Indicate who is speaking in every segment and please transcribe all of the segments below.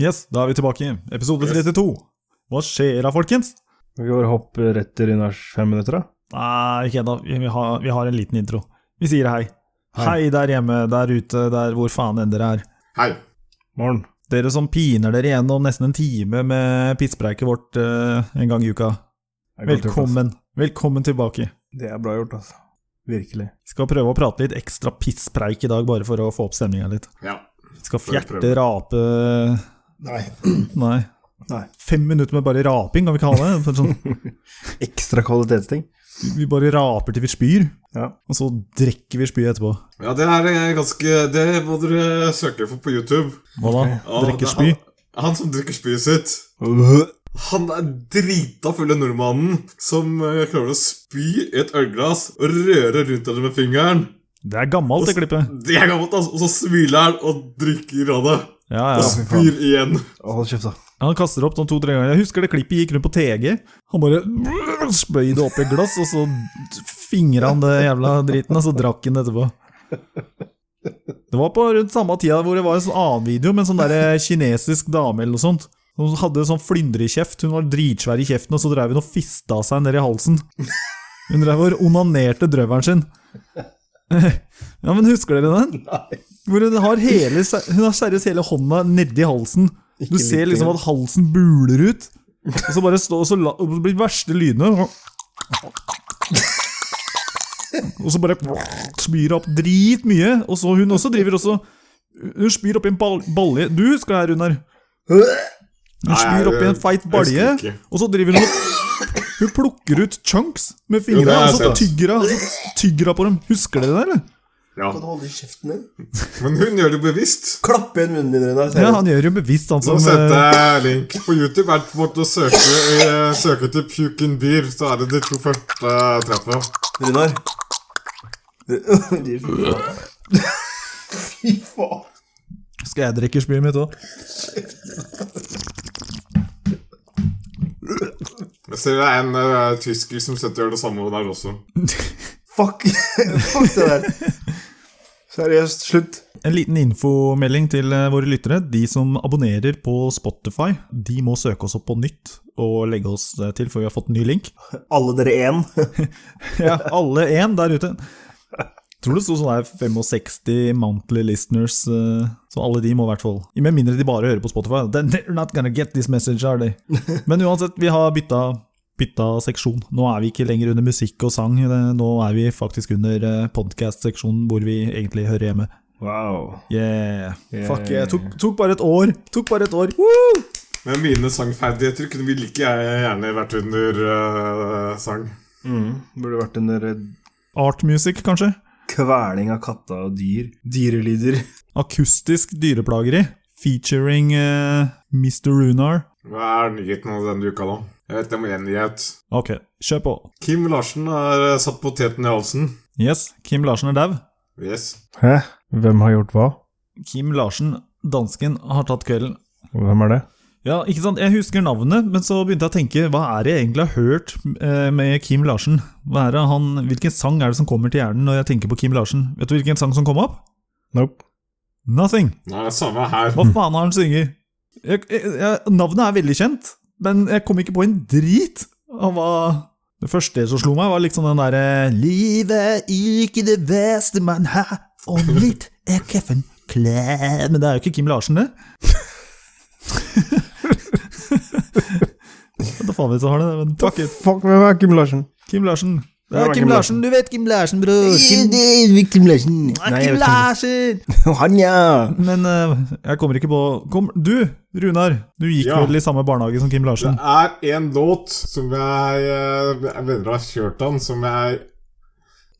Speaker 1: Yes, da er vi tilbake. Episode
Speaker 2: Yes.
Speaker 1: 32. Hva skjer da, folkens?
Speaker 3: Skal vi bare hoppe rett til Rinars fem minutter, da?
Speaker 1: Nei, ikke ennå. Vi, har- vi har en liten intro. Vi sier hei.
Speaker 3: Hei.
Speaker 1: Hei der hjemme, der ute, der hvor faen enn dere er.
Speaker 2: Hei.
Speaker 3: Morgen.
Speaker 1: Dere som piner dere gjennom nesten en time med pisspreket vårt eh, en gang i uka.
Speaker 3: Det er godt gjort, altså.
Speaker 1: Velkommen. Velkommen tilbake.
Speaker 3: Det er bra gjort, altså. Virkelig.
Speaker 1: Skal prøve å prate litt ekstra pisspreik i dag, bare for å få opp stemninga litt.
Speaker 2: Ja.
Speaker 1: Skal
Speaker 2: Får jeg
Speaker 1: fjerte, rape
Speaker 2: Nei.
Speaker 1: Nei.
Speaker 3: Nei.
Speaker 1: Fem minutter med bare raping, kan vi kalle det? For Sånn,
Speaker 3: Ekstra kvalitetsting.
Speaker 1: vi bare raper til vi spyr,
Speaker 3: Ja.
Speaker 1: og så drikker vi spyet etterpå.
Speaker 2: Ja, det her er eh, ganske Det må dere søke for på YouTube.
Speaker 1: Hva da?
Speaker 2: Ja, det
Speaker 1: Drikker
Speaker 2: er
Speaker 1: spy?
Speaker 2: Han, han som drikker spyet sitt.
Speaker 3: Hva
Speaker 2: Han er drita fulle nordmannen som eh, klarer å spy i et ølglass og røre rundt det med fingeren.
Speaker 1: Det er gammelt, det klippet.
Speaker 2: Det er gammelt, altså. Og så smiler han og drikker av det.
Speaker 1: Ja, ja.
Speaker 2: Og
Speaker 3: fy faen.
Speaker 2: spyr igjen.
Speaker 3: Hold kjeft, da.
Speaker 1: Han kaster opp sånn to-tre ganger. Jeg husker det klippet gikk rundt på TG. Han bare spøy det opp i et glass, og så fingra han det jævla driten, og så drakk han det etterpå. Det var på rundt samme tida hvor det var en sånn annen video med en sånn der kinesisk dame eller noe sånt. Hun hadde sånn flyndrekjeft. Hun var dritsvær i kjeften, og så drev hun og fista seg ned i halsen. Hun drev og onanerte drøveren sin. Ja, men husker dere den? Hvor hun har hele, hun har seriøst hele hånda nedi halsen. Du ser liksom at halsen buler ut, og så bare stå, og så, la, og så blir de verste lydene Og så bare spyr opp dritmye. Og så hun også driver også Hun spyr oppi en bal balje Du husker det her, Runar? Hun
Speaker 2: Nei, jeg-
Speaker 1: spyr oppi en feit
Speaker 2: jeg
Speaker 1: balje,
Speaker 2: husker ikke.
Speaker 1: og så driver hun og Hun plukker ut chunks med
Speaker 2: Jo, det
Speaker 1: fingra,
Speaker 2: har jeg
Speaker 1: og så
Speaker 2: sett.
Speaker 1: tygger hun og så tygger hun på dem. Husker dere det, eller?
Speaker 2: Ja.
Speaker 4: Kan du holde kjeften din?
Speaker 2: Men hun gjør det bevisst.
Speaker 4: Klapp igjen munnen din, Runar.
Speaker 1: Ja, han gjør jo bevisst, han som
Speaker 2: Så sendte
Speaker 1: eh,
Speaker 2: jeg link på YouTube. Er det på en måte å søke, eh, søke til Puke in Beer, så er det de to første eh, treffene.
Speaker 4: Runar. Fy faen.
Speaker 1: Skal jeg drikke spyet mitt òg?
Speaker 2: Jeg ser det er en eh, tysker som sitter og gjør det samme der også.
Speaker 4: Fuck. Fuck det der. Seriøst, slutt.
Speaker 1: En liten infomelding til eh, våre lyttere. De som abonnerer på Spotify, de må søke oss opp på nytt og legge oss eh, til, for vi har fått en ny link.
Speaker 4: Alle dere én.
Speaker 1: Ja, alle én der ute. Tror det sto sånn her 65 monthly listeners, eh, så alle de må i hvert fall Med mindre de bare hører på Spotify. Then they're not gonna get this message, are they? Men uansett, vi har bytta, bytta seksjon. Nå er vi ikke lenger under musikk og sang, det- nå er vi faktisk under podkast-seksjonen hvor vi egentlig hører hjemme.
Speaker 3: Wow.
Speaker 1: Yeah.
Speaker 3: Yeah.
Speaker 1: Fuck yeah. Tok, tok bare et år. Tok bare et år. Woo!
Speaker 2: Men mine sangferdigheter kunne vi like gjerne vært under eh, sang.
Speaker 3: Mm. Burde vært en der
Speaker 1: Art music, kanskje?
Speaker 3: kveling av katta og dyr. Dyrelyder.
Speaker 1: Akustisk dyreplageri. Featuring eh, Mr. Runar.
Speaker 2: Hva er nyheten av denne uka, da? Jeg vet det må en nyhet.
Speaker 1: Ok, kjør på.
Speaker 2: Kim Larsen har eh, satt poteten i halsen.
Speaker 1: Yes, Kim Larsen er dau.
Speaker 2: Yes.
Speaker 3: Hæ? Hvem har gjort hva?
Speaker 1: Kim Larsen, dansken, har tatt kvelden.
Speaker 3: Hvem er det?
Speaker 1: Ja, ikke sant? Jeg husker navnet, men så begynte jeg å tenke Hva er det jeg egentlig har hørt eh, med Kim Larsen? Hva er det han, hvilken sang er det som kommer til hjernen når jeg tenker på Kim Larsen? Vet du hvilken sang som kom opp?
Speaker 3: Nope.
Speaker 1: Nothing!
Speaker 2: Nei, samme her.
Speaker 1: Hva faen har han sunget? Jeg, jeg, jeg, navnet er veldig kjent, men jeg kom ikke på en drit av hva Det første som slo meg, var liksom den derre Livet er ikke det beste man har, og litt er kaffen klar Men det er jo ikke Kim Larsen, det. Hva faen vet du har det? Men fuck it.
Speaker 3: Fuck, hvem er Kim Larsen?
Speaker 1: Kim Larsen. Det
Speaker 3: Hvem
Speaker 1: er
Speaker 3: er
Speaker 1: Kim
Speaker 3: Kim
Speaker 1: Larsen. Du vet Kim Larsen, bror. Kim, det
Speaker 4: Victim Larsen.
Speaker 1: er Kim Larsen!
Speaker 4: Han, ja.
Speaker 1: Men eh, jeg kommer ikke på kom, Du, Runar, du gikk
Speaker 2: Ja.
Speaker 1: vel i samme barnehage som Kim
Speaker 2: Det
Speaker 1: Larsen?
Speaker 2: er en låt som jeg eh, venner har kjørt han, som jeg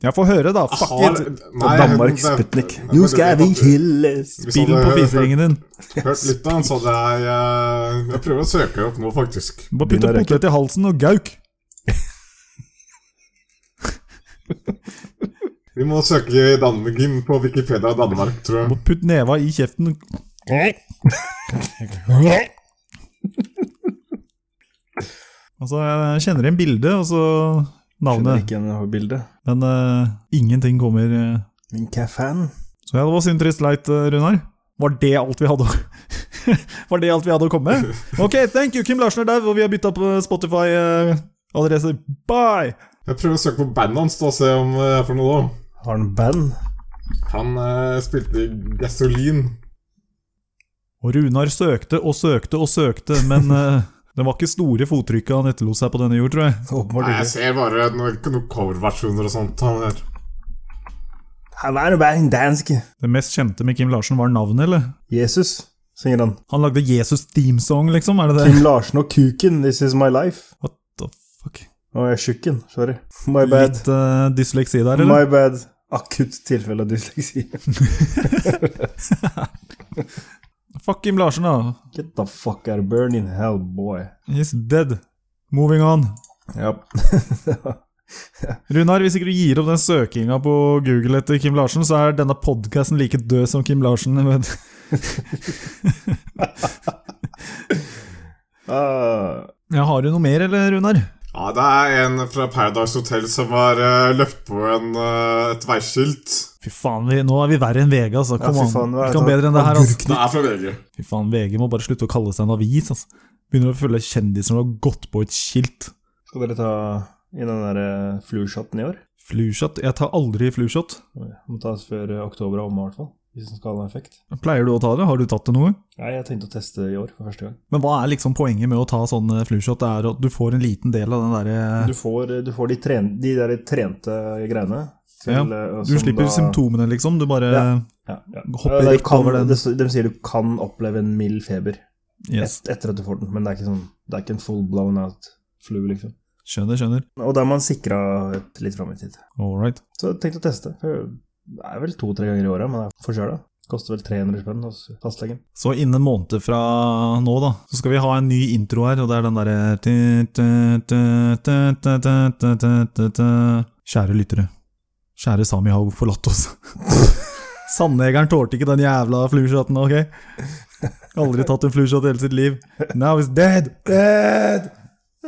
Speaker 1: Jeg får høre, da. Fuck
Speaker 2: har liksom,
Speaker 1: it!
Speaker 2: Nei,
Speaker 3: Danmark
Speaker 2: jeg-
Speaker 3: Sputnik.
Speaker 4: Nå skal vi hilles.
Speaker 2: Hvis
Speaker 1: Spill den
Speaker 2: hadde
Speaker 1: på
Speaker 2: hørt-
Speaker 1: fiseringen din.
Speaker 2: Hørt litt av han, så hadde jeg eh, Jeg prøver å søke opp nå, faktisk.
Speaker 1: Bare putte
Speaker 3: Begynner å
Speaker 1: potet i halsen og gauk.
Speaker 2: Vi må søke Danmark inn på Wikipedia Danmark, tror jeg.
Speaker 1: Bare putt neva i kjeften. Altså, jeg kjenner igjen bildet, og så
Speaker 3: Skjønner
Speaker 1: navnet.
Speaker 3: ikke igjen bildet.
Speaker 1: Men eh, ingenting kommer. eh.
Speaker 4: Men hva faen?
Speaker 1: Så ja, det var synd trist leit, eh, Runar. Var det alt vi hadde? Var det alt vi hadde å komme med? Ok, thank you, Kim Larsen er dau, og vi har eh, bytta på Spotify-adresse. Bye!
Speaker 2: Jeg prøver å søke på bandet hans da, og se om det er for noe, da.
Speaker 4: Har han band?
Speaker 2: Han eh, spilte i Gasolin.
Speaker 1: Og Runar søkte og søkte og søkte, men eh, det var ikke store fottrykket han etterlot seg på denne jord, tror jeg.
Speaker 2: Nei,
Speaker 4: Åpenbart
Speaker 2: jeg
Speaker 4: ikke.
Speaker 2: ser bare noen, noen coverversjoner og sånt. Han der.
Speaker 4: Han er jo bare en dansk.
Speaker 1: Det mest kjente med Kim Larsen var navnet, eller?
Speaker 4: Jesus, synger han.
Speaker 1: Han lagde Jesus theme song, liksom, er det det?
Speaker 4: Kim Larsen og kuken, this is my life.
Speaker 1: What the fuck?
Speaker 4: Å, jeg er tjukken, sorry. My bad.
Speaker 1: Litt eh, dysleksi der, eller?
Speaker 4: My bad. Akutt tilfelle av dysleksi.
Speaker 1: Fuck Kim Larsen, da.
Speaker 4: Get the fuck out of burn in hell, boy.
Speaker 1: He's dead. Moving on.
Speaker 4: Ja.
Speaker 1: Runar, hvis ikke du gir opp den søkinga på Google etter Kim Larsen, så er denne podkasten like død som Kim Larsen. jeg Vet.
Speaker 4: Ah,
Speaker 1: Ja, har du noe mer, eller, Runar?
Speaker 2: Ja, det er en fra Paradise Hotel som har eh, løpt på en, eh, et veiskilt.
Speaker 1: Fy faen, vi, nå er vi verre enn VG, altså.
Speaker 4: Ja,
Speaker 1: Kom
Speaker 4: fy
Speaker 1: an.
Speaker 4: faen, hva er
Speaker 1: vi kan
Speaker 4: det?
Speaker 1: bedre enn det her, altså.
Speaker 2: Det er fra VG.
Speaker 1: Fy faen, VG må bare slutte å kalle seg en avis, altså. Begynner å følge kjendiser når du har gått på et skilt.
Speaker 4: skal dere ta i den der eh, flueshotten i år?
Speaker 1: Flushot? Jeg tar aldri flushot.
Speaker 4: Må tas før eh, oktober er omme, i hvert fall. Hvis den skal ha en effekt.
Speaker 1: Pleier du å ta det? Har du tatt det noe?
Speaker 4: Nei, jeg tenkte å teste i år for første gang.
Speaker 1: Men hva er liksom poenget med å ta sånn eh, flushot? Det er at du får en liten del av den eh, derre
Speaker 4: Du får, eh, du får de, tren, de der trente greiene. til,
Speaker 1: Ja,
Speaker 4: eh,
Speaker 1: Du
Speaker 4: som
Speaker 1: slipper
Speaker 4: da-
Speaker 1: symptomene, liksom. Du bare
Speaker 4: Ja. Ja, ja.
Speaker 1: hopper
Speaker 4: Ja, det er-
Speaker 1: rett over
Speaker 4: kan-
Speaker 1: den.
Speaker 4: det står- De sier du kan oppleve en mild feber
Speaker 1: Yes.
Speaker 4: et, etter at du får den, men det er ikke, sånn, det er ikke en full blown out flue, liksom.
Speaker 1: Skjønner, skjønner.
Speaker 4: Og da er man sikra et litt fram i tid.
Speaker 1: All right.
Speaker 4: Så jeg tenkte å teste. for Det er vel to-tre ganger i året, men det er for sjøl, da. Koster vel 300 spenn hos fastlegen.
Speaker 1: Så innen en måned fra nå, da, så skal vi ha en ny intro her, og det er den derre Kjære lyttere. Kjære Sami har forlatt oss. Sandjegeren tålte ikke den jævla flushoten, ok? Aldri tatt en flushot i hele sitt liv. Now he's dead! Dead!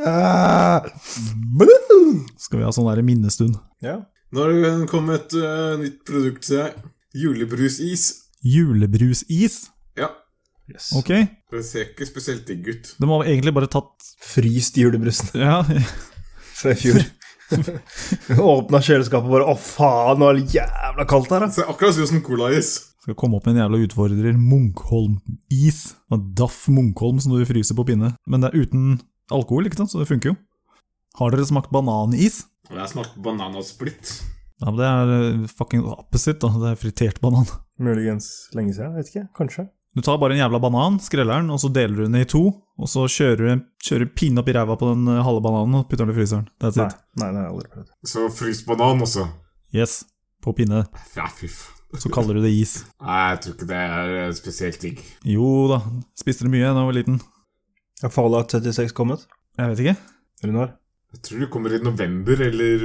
Speaker 1: Ah! Skal vi ha sånn der minnestund?
Speaker 4: Ja.
Speaker 2: Nå har det kommet et eh, nytt produkt til deg. Julebrusis.
Speaker 1: Julebrusis?
Speaker 2: Ja.
Speaker 4: Yes.
Speaker 1: Ok?
Speaker 2: Det ser ikke spesielt digg ut.
Speaker 1: De har egentlig bare tatt
Speaker 4: Fryst julebrusen
Speaker 1: Ja,
Speaker 4: fra i fjor. Åpna kjøleskapet bare Å, faen, nå er det jævla kaldt her, da.
Speaker 2: Det ser akkurat ut som colais.
Speaker 1: Skal komme opp med en jævla utfordrer. Munkholm-is. Og Daff Munkholm som du fryser på pinne. Men det er uten alkohol, ikke sant? så det funker jo. Har dere smakt bananis?
Speaker 2: Og jeg smakte bananasplitt.
Speaker 1: Ja, men Det er eh, fucking opposite, da. Det er fritert banan.
Speaker 4: Muligens lenge siden, vet ikke. Kanskje.
Speaker 1: Du tar bare en jævla banan, skreller den, og så deler du den i to. Og så kjører du en- kjører pinne opp i ræva på den eh, halve bananen og putter den i fryseren. That's
Speaker 4: Nei,
Speaker 1: it.
Speaker 4: nei, det har jeg aldri prøvd.
Speaker 2: Så fryst banan også.
Speaker 1: Yes. På pinne.
Speaker 2: Ja, fy f...
Speaker 1: Så kaller du det is.
Speaker 2: Nei, jeg tror ikke det er eh, spesielt digg.
Speaker 1: Jo da. Spiste du mye da jeg var liten?
Speaker 4: Er Fallout 76 kommet?
Speaker 1: Jeg vet ikke.
Speaker 4: Runar?
Speaker 2: Jeg tror det kommer i november, eller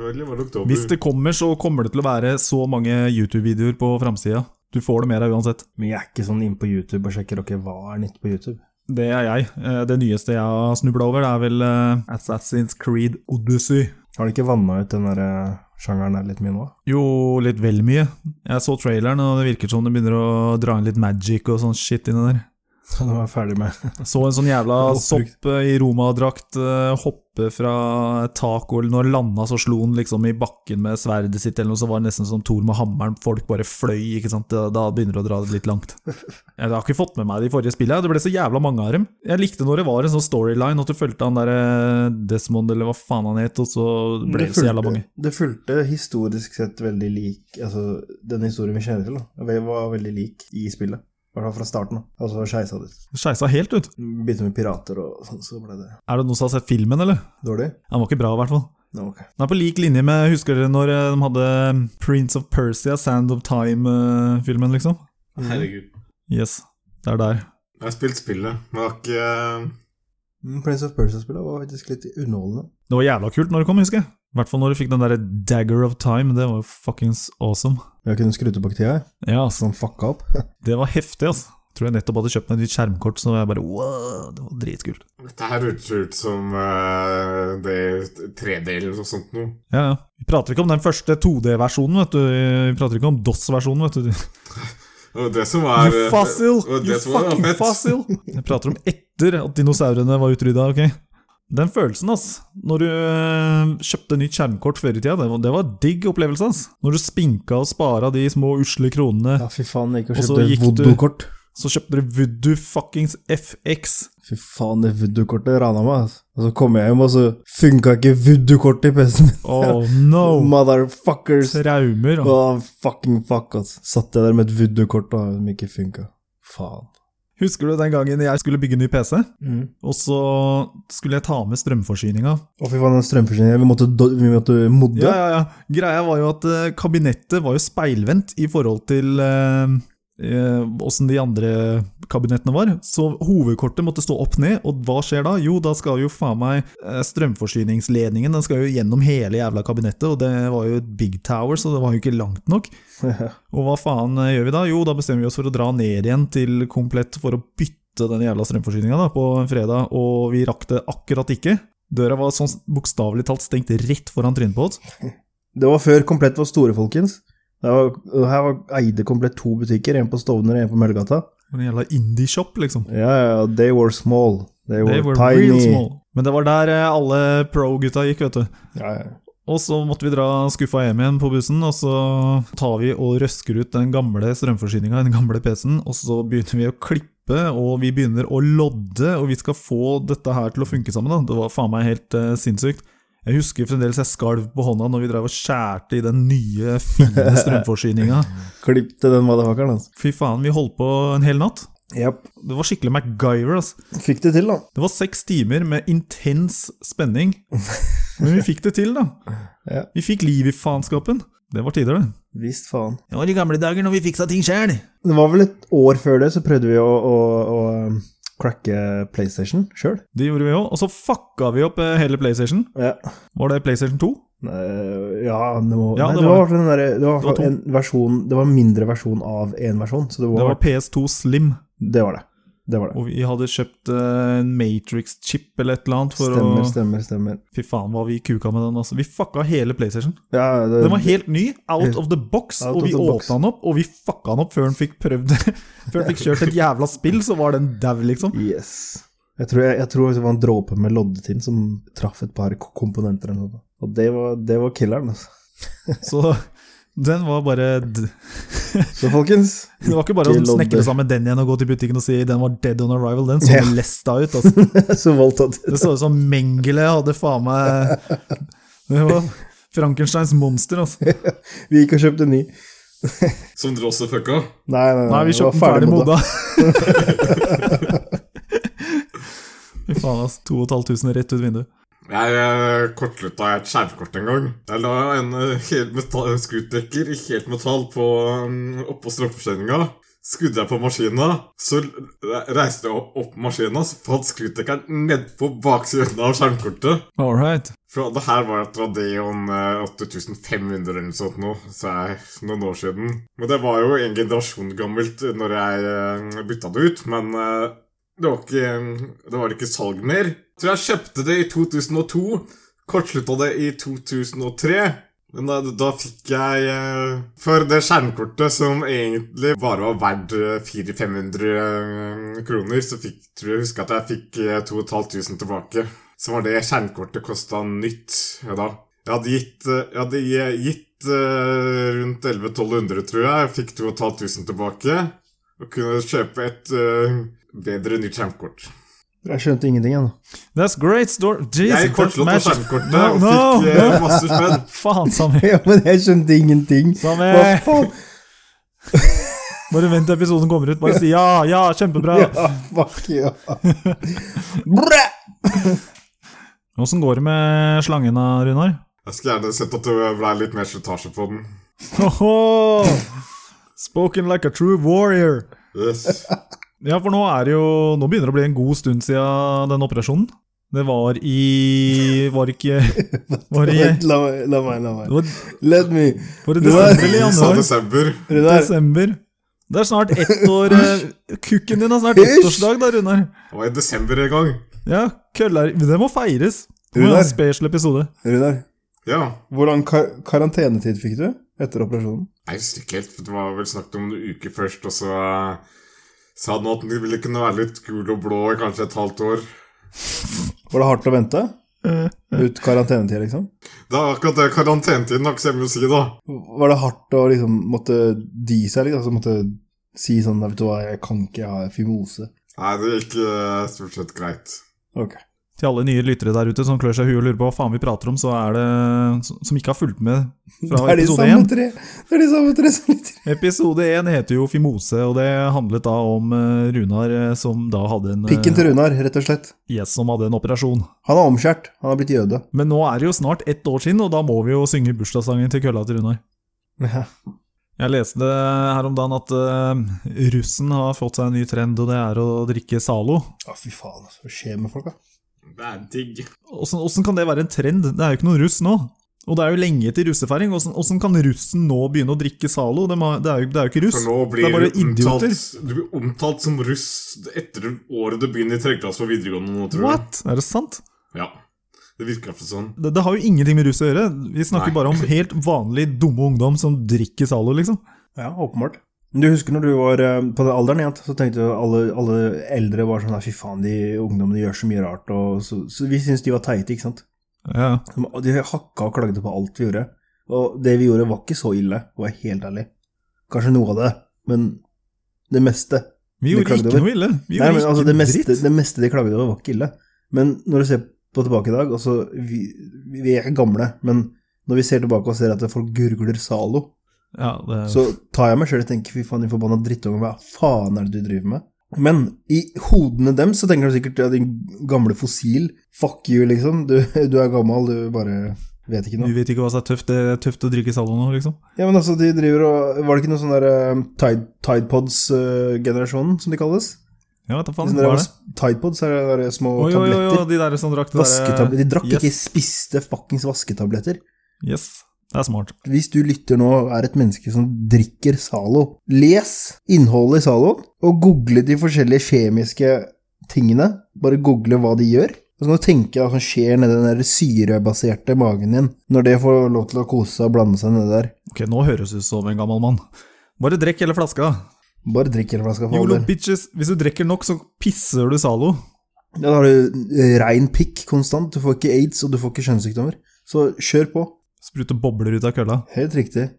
Speaker 2: Eller var det oktober?
Speaker 1: Hvis det kommer, så kommer det til å være så mange YouTube-videoer på framsida. Du får det med deg uansett.
Speaker 4: Men jeg er ikke sånn inne på YouTube og sjekker ok, hva er nytt på YouTube.
Speaker 1: Det er jeg. Eh, Det nyeste jeg har snubla over, det er vel eh, Assassin's Creed Odyssey.
Speaker 4: Har de ikke vanna ut den der eh, sjangeren der litt mye nå?
Speaker 1: Jo, litt vel mye. Jeg så traileren, og det virker som det begynner å dra inn litt magic og sånn shit inni der.
Speaker 4: Så nå er jeg ferdig med
Speaker 1: Så en sånn jævla
Speaker 4: Det var oppbrukt.
Speaker 1: sopp eh, i romadrakt eh, hoppe fra et tak, og når han landa, så slo han liksom i bakken med sverdet sitt, eller noe, så var det nesten som Thor med hammeren. Folk bare fløy, ikke sant. Da, da begynner det å dra det litt langt. Jeg har ikke fått med meg de forrige spillene. Det ble så jævla mange av dem. Jeg likte når det var en sånn storyline, at du fulgte han der eh, Desmond, eller hva faen han het, og så ble det så jævla mange.
Speaker 4: Mm, Det fulgte historisk sett veldig lik Altså, den historien vi kjenner til, da. Det var veldig lik i spillet. I hvert fall fra starten. da. Og så skeisa det.
Speaker 1: Skeisa helt ut.
Speaker 4: Begynte med pirater og sånn, så ble det
Speaker 1: Er det noen som har sett filmen, eller?
Speaker 4: dårlig.
Speaker 1: Den var ikke bra, i hvert fall.
Speaker 4: Nå, ok.
Speaker 1: Den er på lik linje med Husker dere når eh, de hadde Prince of Persia, Sand of Time-filmen, liksom?
Speaker 4: Mm.
Speaker 2: Herregud.
Speaker 1: Yes, det er der.
Speaker 2: Jeg har spilt spillet, men jeg har ikke eh,
Speaker 4: Mm, Prince of Persia-spillet var faktisk litt underholdende.
Speaker 1: Det var jævla kult når det kom, husker jeg. I hvert fall når du fikk den derre Dagger of Time, det var jo fuckings awesome.
Speaker 4: Jeg kunne skru tilbake tida, jeg.
Speaker 1: Ja, altså,
Speaker 4: Sånn fucka opp.
Speaker 1: det var heftig, altså. Tror jeg nettopp hadde kjøpt meg et nytt skjermkort, så jeg bare wow, det var dritkult.
Speaker 2: Dette her hørtes ut som eh, det 3D eller noe sånt noe.
Speaker 1: Ja, ja. Vi prater ikke om den første 2D-versjonen, vet du. Vi prater ikke om DOS-versjonen, vet du.
Speaker 2: Det var det som er
Speaker 1: you fossil!
Speaker 2: det var eh, det
Speaker 1: You
Speaker 2: som var
Speaker 1: fucking
Speaker 2: fett.
Speaker 1: fossil! Jeg prater om etter at dinosaurene var utrydda, ok? Den følelsen, ass. Når du øh, kjøpte nytt skjermkort før i tida, det var, det var digg opplevelse, ass. Når du spinka og spara de små usle kronene,
Speaker 4: Ja, fy faen, jeg gikk og
Speaker 1: Og så
Speaker 4: kjøpte
Speaker 1: gikk du-
Speaker 4: voodoo-kort.
Speaker 1: så kjøpte du Voodoo fuckings FX.
Speaker 4: Fy faen, det voodoo-kortet rana meg, altså. Og så kom jeg hjem, og så funka ikke voodoo-kortet i PC-en min.
Speaker 1: Oh no!
Speaker 4: Motherfuckers.
Speaker 1: Traumer. ass.
Speaker 4: Åh, fucking fuck, ass. Satt jeg der med et voodoo-kort og som ikke funka. Faen.
Speaker 1: Husker du den gangen jeg skulle bygge ny PC,
Speaker 4: Mm.
Speaker 1: og så skulle jeg ta med strømforsyninga?
Speaker 4: Å, fy faen, den strømforsyningen. Vi måtte, do- vi måtte modde.
Speaker 1: Ja, ja, ja. Greia var jo at eh, kabinettet var jo speilvendt i forhold til eh, åssen de andre kabinettene var. Så hovedkortet måtte stå opp ned, og hva skjer da? Jo, da skal jo faen meg eh, strømforsyningsledningen den skal jo gjennom hele jævla kabinettet, og det var jo et big tower, så det var jo ikke langt nok. Og hva faen eh, gjør vi da? Jo, da bestemmer vi oss for å dra ned igjen til komplett for å bytte den jævla strømforsyninga da, på en fredag, og vi rakk det akkurat ikke. Døra var sånn bokstavelig talt stengt rett foran trynet på oss.
Speaker 4: Det var før Komplett var store, folkens. Det var, og her var, eide Komplett to butikker, en på Stovner og en på Mølgata.
Speaker 1: En jævla indie-shop, liksom.
Speaker 4: Ja, ja, ja, they were small. They were,
Speaker 1: They were
Speaker 4: tiny.
Speaker 1: real small. Men det var der eh, alle pro-gutta gikk, vet du.
Speaker 4: Ja, ja.
Speaker 1: Og så måtte vi dra skuffa hjem igjen på bussen, og så tar vi og røsker ut den gamle strømforsyninga, den gamle PC-en, og så begynner vi å klippe, og vi begynner å lodde, og vi skal få dette her til å funke sammen, da. Det var faen meg helt eh, sinnssykt. Jeg husker fremdeles jeg skalv på hånda når vi drev og skjærte i den nye, fine strømforsyninga.
Speaker 4: Klipp til den motherfuckeren, altså.
Speaker 1: Fy faen, vi holdt på en hel natt.
Speaker 4: Japp.
Speaker 1: Det var skikkelig MacGyver, altså.
Speaker 4: Fikk det til, da.
Speaker 1: Det var seks timer med intens spenning. Men vi fikk det til, da.
Speaker 4: Ja.
Speaker 1: Vi fikk liv i faenskapen. Det var tider, det.
Speaker 4: Visst faen.
Speaker 1: Det var i gamle dager når vi fiksa ting sjæl.
Speaker 4: Det var vel et år før det, så prøvde vi å, å, å um, cracke PlayStation sjøl.
Speaker 1: Det gjorde vi òg. Og så fucka vi opp eh, hele PlayStation.
Speaker 4: Ja.
Speaker 1: Var det PlayStation 2?
Speaker 4: Nei, Eh, ja, det, må,
Speaker 1: Ja,
Speaker 4: nei,
Speaker 1: det
Speaker 4: det var i
Speaker 1: var
Speaker 4: hvert fall den derre-
Speaker 1: Det
Speaker 4: det var i
Speaker 1: var
Speaker 4: hvert fall en versjon Det var en mindre versjon av én versjon, så det
Speaker 1: Det
Speaker 4: var
Speaker 1: var PS2 Slim,
Speaker 4: Det var det. Det var det.
Speaker 1: og vi hadde kjøpt eh, en Matrix-chip eller et eller annet for
Speaker 4: Stemmer,
Speaker 1: å
Speaker 4: stemmer, stemmer.
Speaker 1: Fy faen, hva vi kuka med den, altså. Vi fucka hele PlayStation.
Speaker 4: Ja, Eh, det,
Speaker 1: Den var helt ny, out of the box,
Speaker 4: Out
Speaker 1: og
Speaker 4: of
Speaker 1: vi
Speaker 4: the box.
Speaker 1: åpna den opp, og vi fucka den opp før den fikk prøvd Før den fikk kjørt et jævla spill, så var den dau, liksom.
Speaker 4: Yes. Jeg tror, jeg, jeg tror det var en dråpe med loddetinn som traff et par k- komponenter. Eller noe. Og det var, det var killeren, altså.
Speaker 1: Så den var bare d-
Speaker 4: Så folkens,
Speaker 1: Det var ikke bare å
Speaker 4: Ikke lodde.
Speaker 1: snekre sammen den igjen og gå til butikken og si den var dead on arrival. Den så
Speaker 4: Ja.
Speaker 1: lesta ut. Altså.
Speaker 4: så voldtatt.
Speaker 1: Det så ut som Mengele hadde faen meg Det var Frankensteins monster, altså.
Speaker 4: Vi gikk og kjøpte en ny. Nei,
Speaker 2: Som dere også fucka.
Speaker 4: nei, nei.
Speaker 1: Nei, vi
Speaker 4: det var
Speaker 1: kjøpte den ferdig
Speaker 4: modda.
Speaker 1: modda. Fy faen, altså. 2500 rett ut vinduet.
Speaker 2: Jeg eh, kortlutta et skjermkort en gang. Jeg la en eh, hel metall, en skrutrekker i helt metall på, um, oppå strømforsyninga. Skrudde jeg på maskina, så re- reiste jeg opp, opp maskina, så fant skrutrekkeren nedpå baksiden av skjermkortet.
Speaker 1: All right.
Speaker 2: For det her var et Radeon eh, 8500 eller noe sånt nå, så jeg, noen år siden. Men det var jo en generasjon gammelt eh, når jeg eh, bytta det ut, men eh, det var ikke, eh, det var ikke salg mer. Så jeg kjøpte det i 2002, kortslutta det i 2003. Men da, da fikk jeg eh, for det skjermkortet som egentlig bare var verdt eh, 400-500 eh, kroner, så fikk, tror jeg husker at jeg fikk eh, 2500 tilbake. Så var det skjermkortet kosta nytt ja, da. Jeg hadde gitt, eh, jeg hadde gi- gitt eh, rundt 1100-1200, tror jeg. Jeg fikk 2500 tilbake. Og kunne kjøpe et eh, bedre nytt skjermkort.
Speaker 4: Jeg skjønte ingenting ennå.
Speaker 1: That's great story. Jesus,
Speaker 2: Jeg
Speaker 1: that's
Speaker 2: kortslått
Speaker 1: magic.
Speaker 2: skjermkortet
Speaker 1: No,
Speaker 2: og
Speaker 1: no,
Speaker 2: fikk eh, masse spenn.
Speaker 1: Faen, Sammy.
Speaker 4: Ja, men jeg skjønte ingenting. Hva
Speaker 1: Sammy.
Speaker 4: faen?
Speaker 1: Bare vent til episoden kommer ut. Bare si ja, ja, kjempebra.
Speaker 4: Ja, fuck ja. Bræ!
Speaker 1: Åssen går det med slangen da, Runar?
Speaker 2: Jeg skulle gjerne sett at det ble litt mer slitasje på den.
Speaker 1: Hoho! Spoken like a true warrior.
Speaker 2: Yes.
Speaker 1: Ja, for nå er det jo Nå begynner det å bli en god stund siden den operasjonen. Det var i Var ikke Var i
Speaker 4: Vent, la meg, la meg. La
Speaker 1: det
Speaker 4: meg.
Speaker 1: var,
Speaker 4: Let me.
Speaker 1: var det desember eller
Speaker 2: Sa
Speaker 1: januar?
Speaker 2: desember.
Speaker 4: Runar,
Speaker 1: Desember. Det er snart ett år eh, Kukken din har snart ettårsdag, da, Runar.
Speaker 2: Det var i desember en gang.
Speaker 1: Ja, køller Det må feires. Det må være en
Speaker 4: Runar.
Speaker 1: spesial episode.
Speaker 4: Runar.
Speaker 2: Ja.
Speaker 4: Hvor lang kar karantenetid fikk du? etter operasjonen?
Speaker 2: Jeg husker ikke helt, for det var vel snakket om en uke først, og så eh, sa han at den ville kunne være litt gul og blå i kanskje et halvt år.
Speaker 4: Var det hardt å vente? Ut karantenetida, liksom?
Speaker 2: Det er akkurat det karantenetiden har ikke så mye å si, da.
Speaker 4: Var det hardt å liksom måtte dy seg, liksom? Altså måtte si sånn Vet du hva, jeg kan ikke, jeg har fimose.
Speaker 2: Nei, det gikk eh, stort sett greit.
Speaker 4: Ok.
Speaker 1: Til alle nye lyttere der ute som klør seg i huet og lurer på hva faen vi prater om, så er det Som ikke har fulgt med
Speaker 4: Det
Speaker 1: fra
Speaker 4: er de
Speaker 1: episode
Speaker 4: samme
Speaker 1: 1.
Speaker 4: tre Det er de samme tre som lytter.
Speaker 1: Episode 1 heter jo Fimose, og det handlet da om eh, Runar eh, som da hadde en eh,
Speaker 4: Pikken til Runar, rett og slett.
Speaker 1: Yes, som hadde en operasjon.
Speaker 4: Han er omskjært. Han har blitt jøde.
Speaker 1: Men nå er det jo snart ett år siden, og da må vi jo synge bursdagssangen til kølla til Runar. Jeg leste det her om dagen at eh, russen har fått seg en ny trend, og det er å drikke Zalo.
Speaker 4: Å, fy faen, altså. Hva skjer med folk, da?
Speaker 2: Det er digg.
Speaker 1: Åssen åssen kan det være en trend? Det er jo ikke noen russ nå. Og det er jo lenge til russefeiring. Åssen åssen kan russen nå begynne å drikke Zalo? De har- Det er jo, det er jo ikke russ.
Speaker 2: For nå
Speaker 1: det
Speaker 2: blir
Speaker 1: er bare
Speaker 2: du omtalt,
Speaker 1: idioter.
Speaker 2: du blir omtalt som russ etter året du begynner i tredje klasse på videregående. nå, tror jeg.
Speaker 1: What? Er det sant?
Speaker 2: Ja, Det virker i hvert fall sånn.
Speaker 1: Det, det har jo ingenting med russ å gjøre. Vi snakker
Speaker 2: Nei.
Speaker 1: bare om helt vanlig dumme ungdom som drikker Zalo, liksom.
Speaker 4: Ja, åpenbart. Men Du husker når du var eh, på den alderen igjen, så tenkte du at alle, alle eldre var sånn «Nei, Fy faen, de ungdommene gjør så mye rart. Og så, så vi syntes de var teite, ikke sant.
Speaker 1: Ja.
Speaker 4: Som- og De hakka og klagde på alt vi gjorde. Og det vi gjorde var ikke så ille, for å være helt ærlig. Kanskje noe av det, men det meste.
Speaker 1: Vi
Speaker 4: Det
Speaker 1: gjorde
Speaker 4: klagde
Speaker 1: ikke
Speaker 4: over.
Speaker 1: noe ille. Vi gjorde
Speaker 4: Nei, men
Speaker 1: ikke
Speaker 4: altså, det, meste
Speaker 1: dritt.
Speaker 4: det meste de klagde over, var ikke ille. Men når du ser på tilbake i dag altså, vi, vi er ikke gamle, men når vi ser tilbake og ser at folk gurgler Zalo
Speaker 1: Ja, det,
Speaker 4: Så tar jeg meg sjøl og tenker fy faen, de forbanna drittunger, hva faen er det du driver med? Men i hodene dem så tenker de sikkert ja, din gamle fossil, fuck you, liksom. Du, du er gammel, du bare vet ikke
Speaker 1: Du
Speaker 4: noe.
Speaker 1: vet ikke hva som er tøft. Det er tøft å drikke Zalo nå, liksom.
Speaker 4: Ja, men altså, de driver og Var det ikke noe sånn der eh, Tide, Tide Pods-generasjonen, som de kalles?
Speaker 1: Ja, vet du
Speaker 4: De
Speaker 1: faen.
Speaker 4: som
Speaker 1: Hva
Speaker 4: dere-
Speaker 1: er det?
Speaker 4: Tide Pods er det der små
Speaker 1: Oi, oi, oi,
Speaker 4: tabletter.
Speaker 1: oi, de der eh, som drakk det derre-
Speaker 4: Vasketabletter. De drakk
Speaker 1: yes,
Speaker 4: ikke, spiste fuckings vasketabletter.
Speaker 1: Yes. Det er smart.
Speaker 4: Hvis du lytter nå og er et menneske som drikker Zalo, les innholdet i Zaloen, og google de forskjellige kjemiske tingene. Bare google hva de gjør. Og så kan du tenke hva som skjer nedi den der syrebaserte magen din, når det får lov til å kose seg og blande seg nedi der.
Speaker 1: Ok, nå høres du ut som en gammel mann. Bare drikk hele flaska.
Speaker 4: Bare drikk hele flaska for all
Speaker 1: Yolo
Speaker 4: del.
Speaker 1: bitches, hvis du drikker nok, så pisser du Zalo.
Speaker 4: Ja, Da har du eh, rein pikk konstant. Du får ikke aids, og du får ikke kjønnssykdommer. Så kjør på.
Speaker 1: Spruter bobler ut av kølla.
Speaker 4: Helt riktig.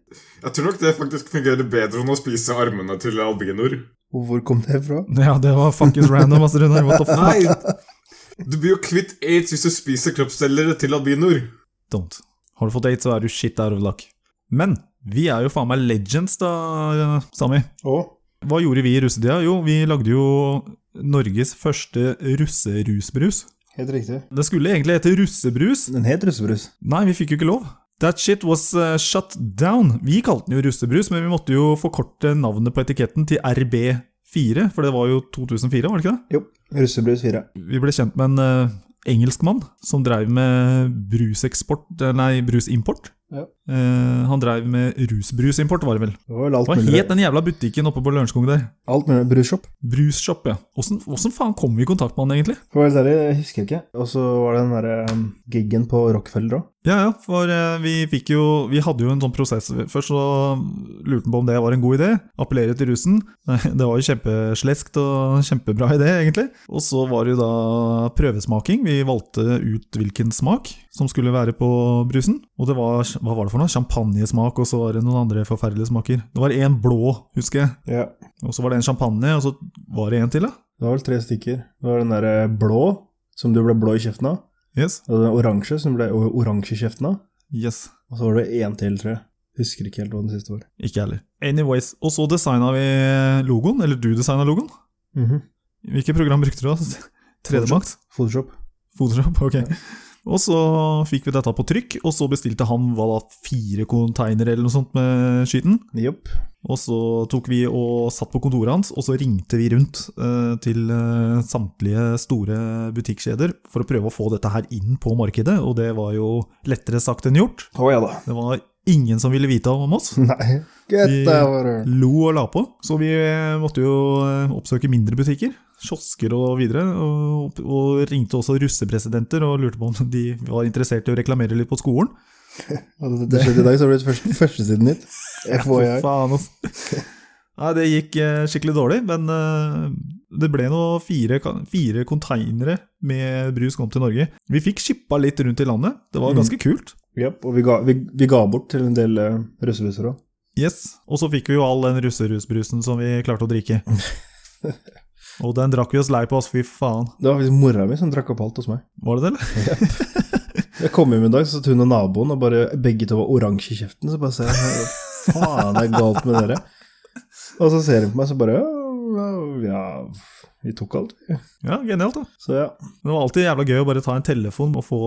Speaker 2: Jeg tror nok det faktisk fungerer bedre enn å spise armene til albinoer.
Speaker 4: Og Hvor kom det fra?
Speaker 1: Ja, det var fuckings random, ass, Runar. What the fuck?
Speaker 2: Nei! Du blir jo kvitt aids hvis du spiser kroppsdeler til albinoer.
Speaker 1: Don't. Har du fått date, så er du shit out of luck. Men vi er jo faen meg legends, da, Sami.
Speaker 4: Å?
Speaker 1: Hva gjorde vi i russetida? Jo, vi lagde jo Norges første russerusbrus.
Speaker 4: Helt riktig.
Speaker 1: Det skulle egentlig hete russebrus.
Speaker 4: Den het russebrus.
Speaker 1: Nei, vi fikk jo ikke lov. That shit was eh, shut down. Vi kalte den jo russebrus, men vi måtte jo forkorte navnet på etiketten til RB4, for det var jo 2004, var det ikke det?
Speaker 4: Jo. Russebrus 4.
Speaker 1: Vi ble kjent med en eh, engelskmann som drev med bruseksport, eh, nei, brusimport.
Speaker 4: Ja.
Speaker 1: Eh, han drev med rusbrusimport, var det vel.
Speaker 4: Det var vel alt
Speaker 1: Hva
Speaker 4: mulig.
Speaker 1: het den jævla butikken oppe på Lørenskog der?
Speaker 4: Alt mulig. Brusshop.
Speaker 1: Brusshop, ja. Åssen åssen faen kom vi i kontakt med han, egentlig?
Speaker 4: For å være helt ærlig, jeg husker ikke. Og så var det den derre um, giggen på Rockefeller òg.
Speaker 1: Ja, ja, for eh, vi fikk jo Vi hadde jo en sånn prosess. Først så lurte han på om det var en god idé. Appellere til russen. Nei, Det var jo kjempesleskt og kjempebra idé, egentlig. Og så var det jo da prøvesmaking. Vi valgte ut hvilken smak som skulle være på brusen. Og det var Hva var det for noe? Champagnesmak, og så var det noen andre forferdelige smaker. Det var en blå, husker jeg.
Speaker 4: Ja.
Speaker 1: Og så var det en champagne, og så var det en til, da.
Speaker 4: Det var vel tre stykker. Det var den derre blå, som du ble blå i kjeften av.
Speaker 1: Yes.
Speaker 4: Og den oransje, som du ble o- oransje i kjeften av.
Speaker 1: Yes.
Speaker 4: Og så var det én til, tror jeg. Husker ikke helt hva den siste var.
Speaker 1: Ikke jeg heller. Anyways. Og så designa vi logoen. Eller du designa logoen.
Speaker 4: Mhm.
Speaker 1: Hvilke program brukte du? da? 3D-Max?
Speaker 4: Photoshop.
Speaker 1: Photoshop? Ok. Og så fikk vi dette på trykk, og så bestilte han hva da, fire containere eller noe sånt med skiten.
Speaker 4: Jopp.
Speaker 1: Og så tok vi og satt på kontoret hans, og så ringte vi rundt eh, til eh, samtlige store butikkjeder for å prøve å få dette her inn på markedet, og det var jo lettere sagt enn gjort.
Speaker 4: Å ja da.
Speaker 1: Det var ingen som ville vite om oss.
Speaker 4: Nei. Get
Speaker 1: Vi-
Speaker 4: over it.
Speaker 1: Lo og la på. Så vi eh, måtte jo eh, oppsøke mindre butikker, kiosker og videre. Og, og ringte også russepresidenter og lurte på om de var interessert i å reklamere litt på skolen.
Speaker 4: Og det- det skjedde i dag, så ble det første, førstesiden nytt.
Speaker 1: For
Speaker 4: FHI.
Speaker 1: faen, ass. Nei, det gikk eh, skikkelig dårlig, men eh, det ble nå fire, ka- fire konteinere med brus kom til Norge. Vi fikk shippa litt rundt i landet. Det var ganske kult.
Speaker 4: Japp.
Speaker 3: Og vi ga, vi, vi ga bort til en del
Speaker 4: eh,
Speaker 3: uh, russebusser òg.
Speaker 1: Yes. Og så fikk vi jo all den russerusbrusen som vi klarte å drikke. Og den drakk vi oss lei på, ass. Fy faen.
Speaker 4: Det var faktisk mora mi som drakk opp alt hos meg.
Speaker 1: Var det det, eller?
Speaker 4: Jeg kom hjem i dag, så satt hun og naboen, og bare, begge to var oransje i kjeften. Så bare ser jeg hva faen det er galt med dere. Og så ser hun på meg, så bare «Ja, Ja, vi tok alt, vi.
Speaker 1: Ja, genialt, da.
Speaker 4: Så ja.
Speaker 1: Det var alltid jævla gøy å bare ta en telefon og få,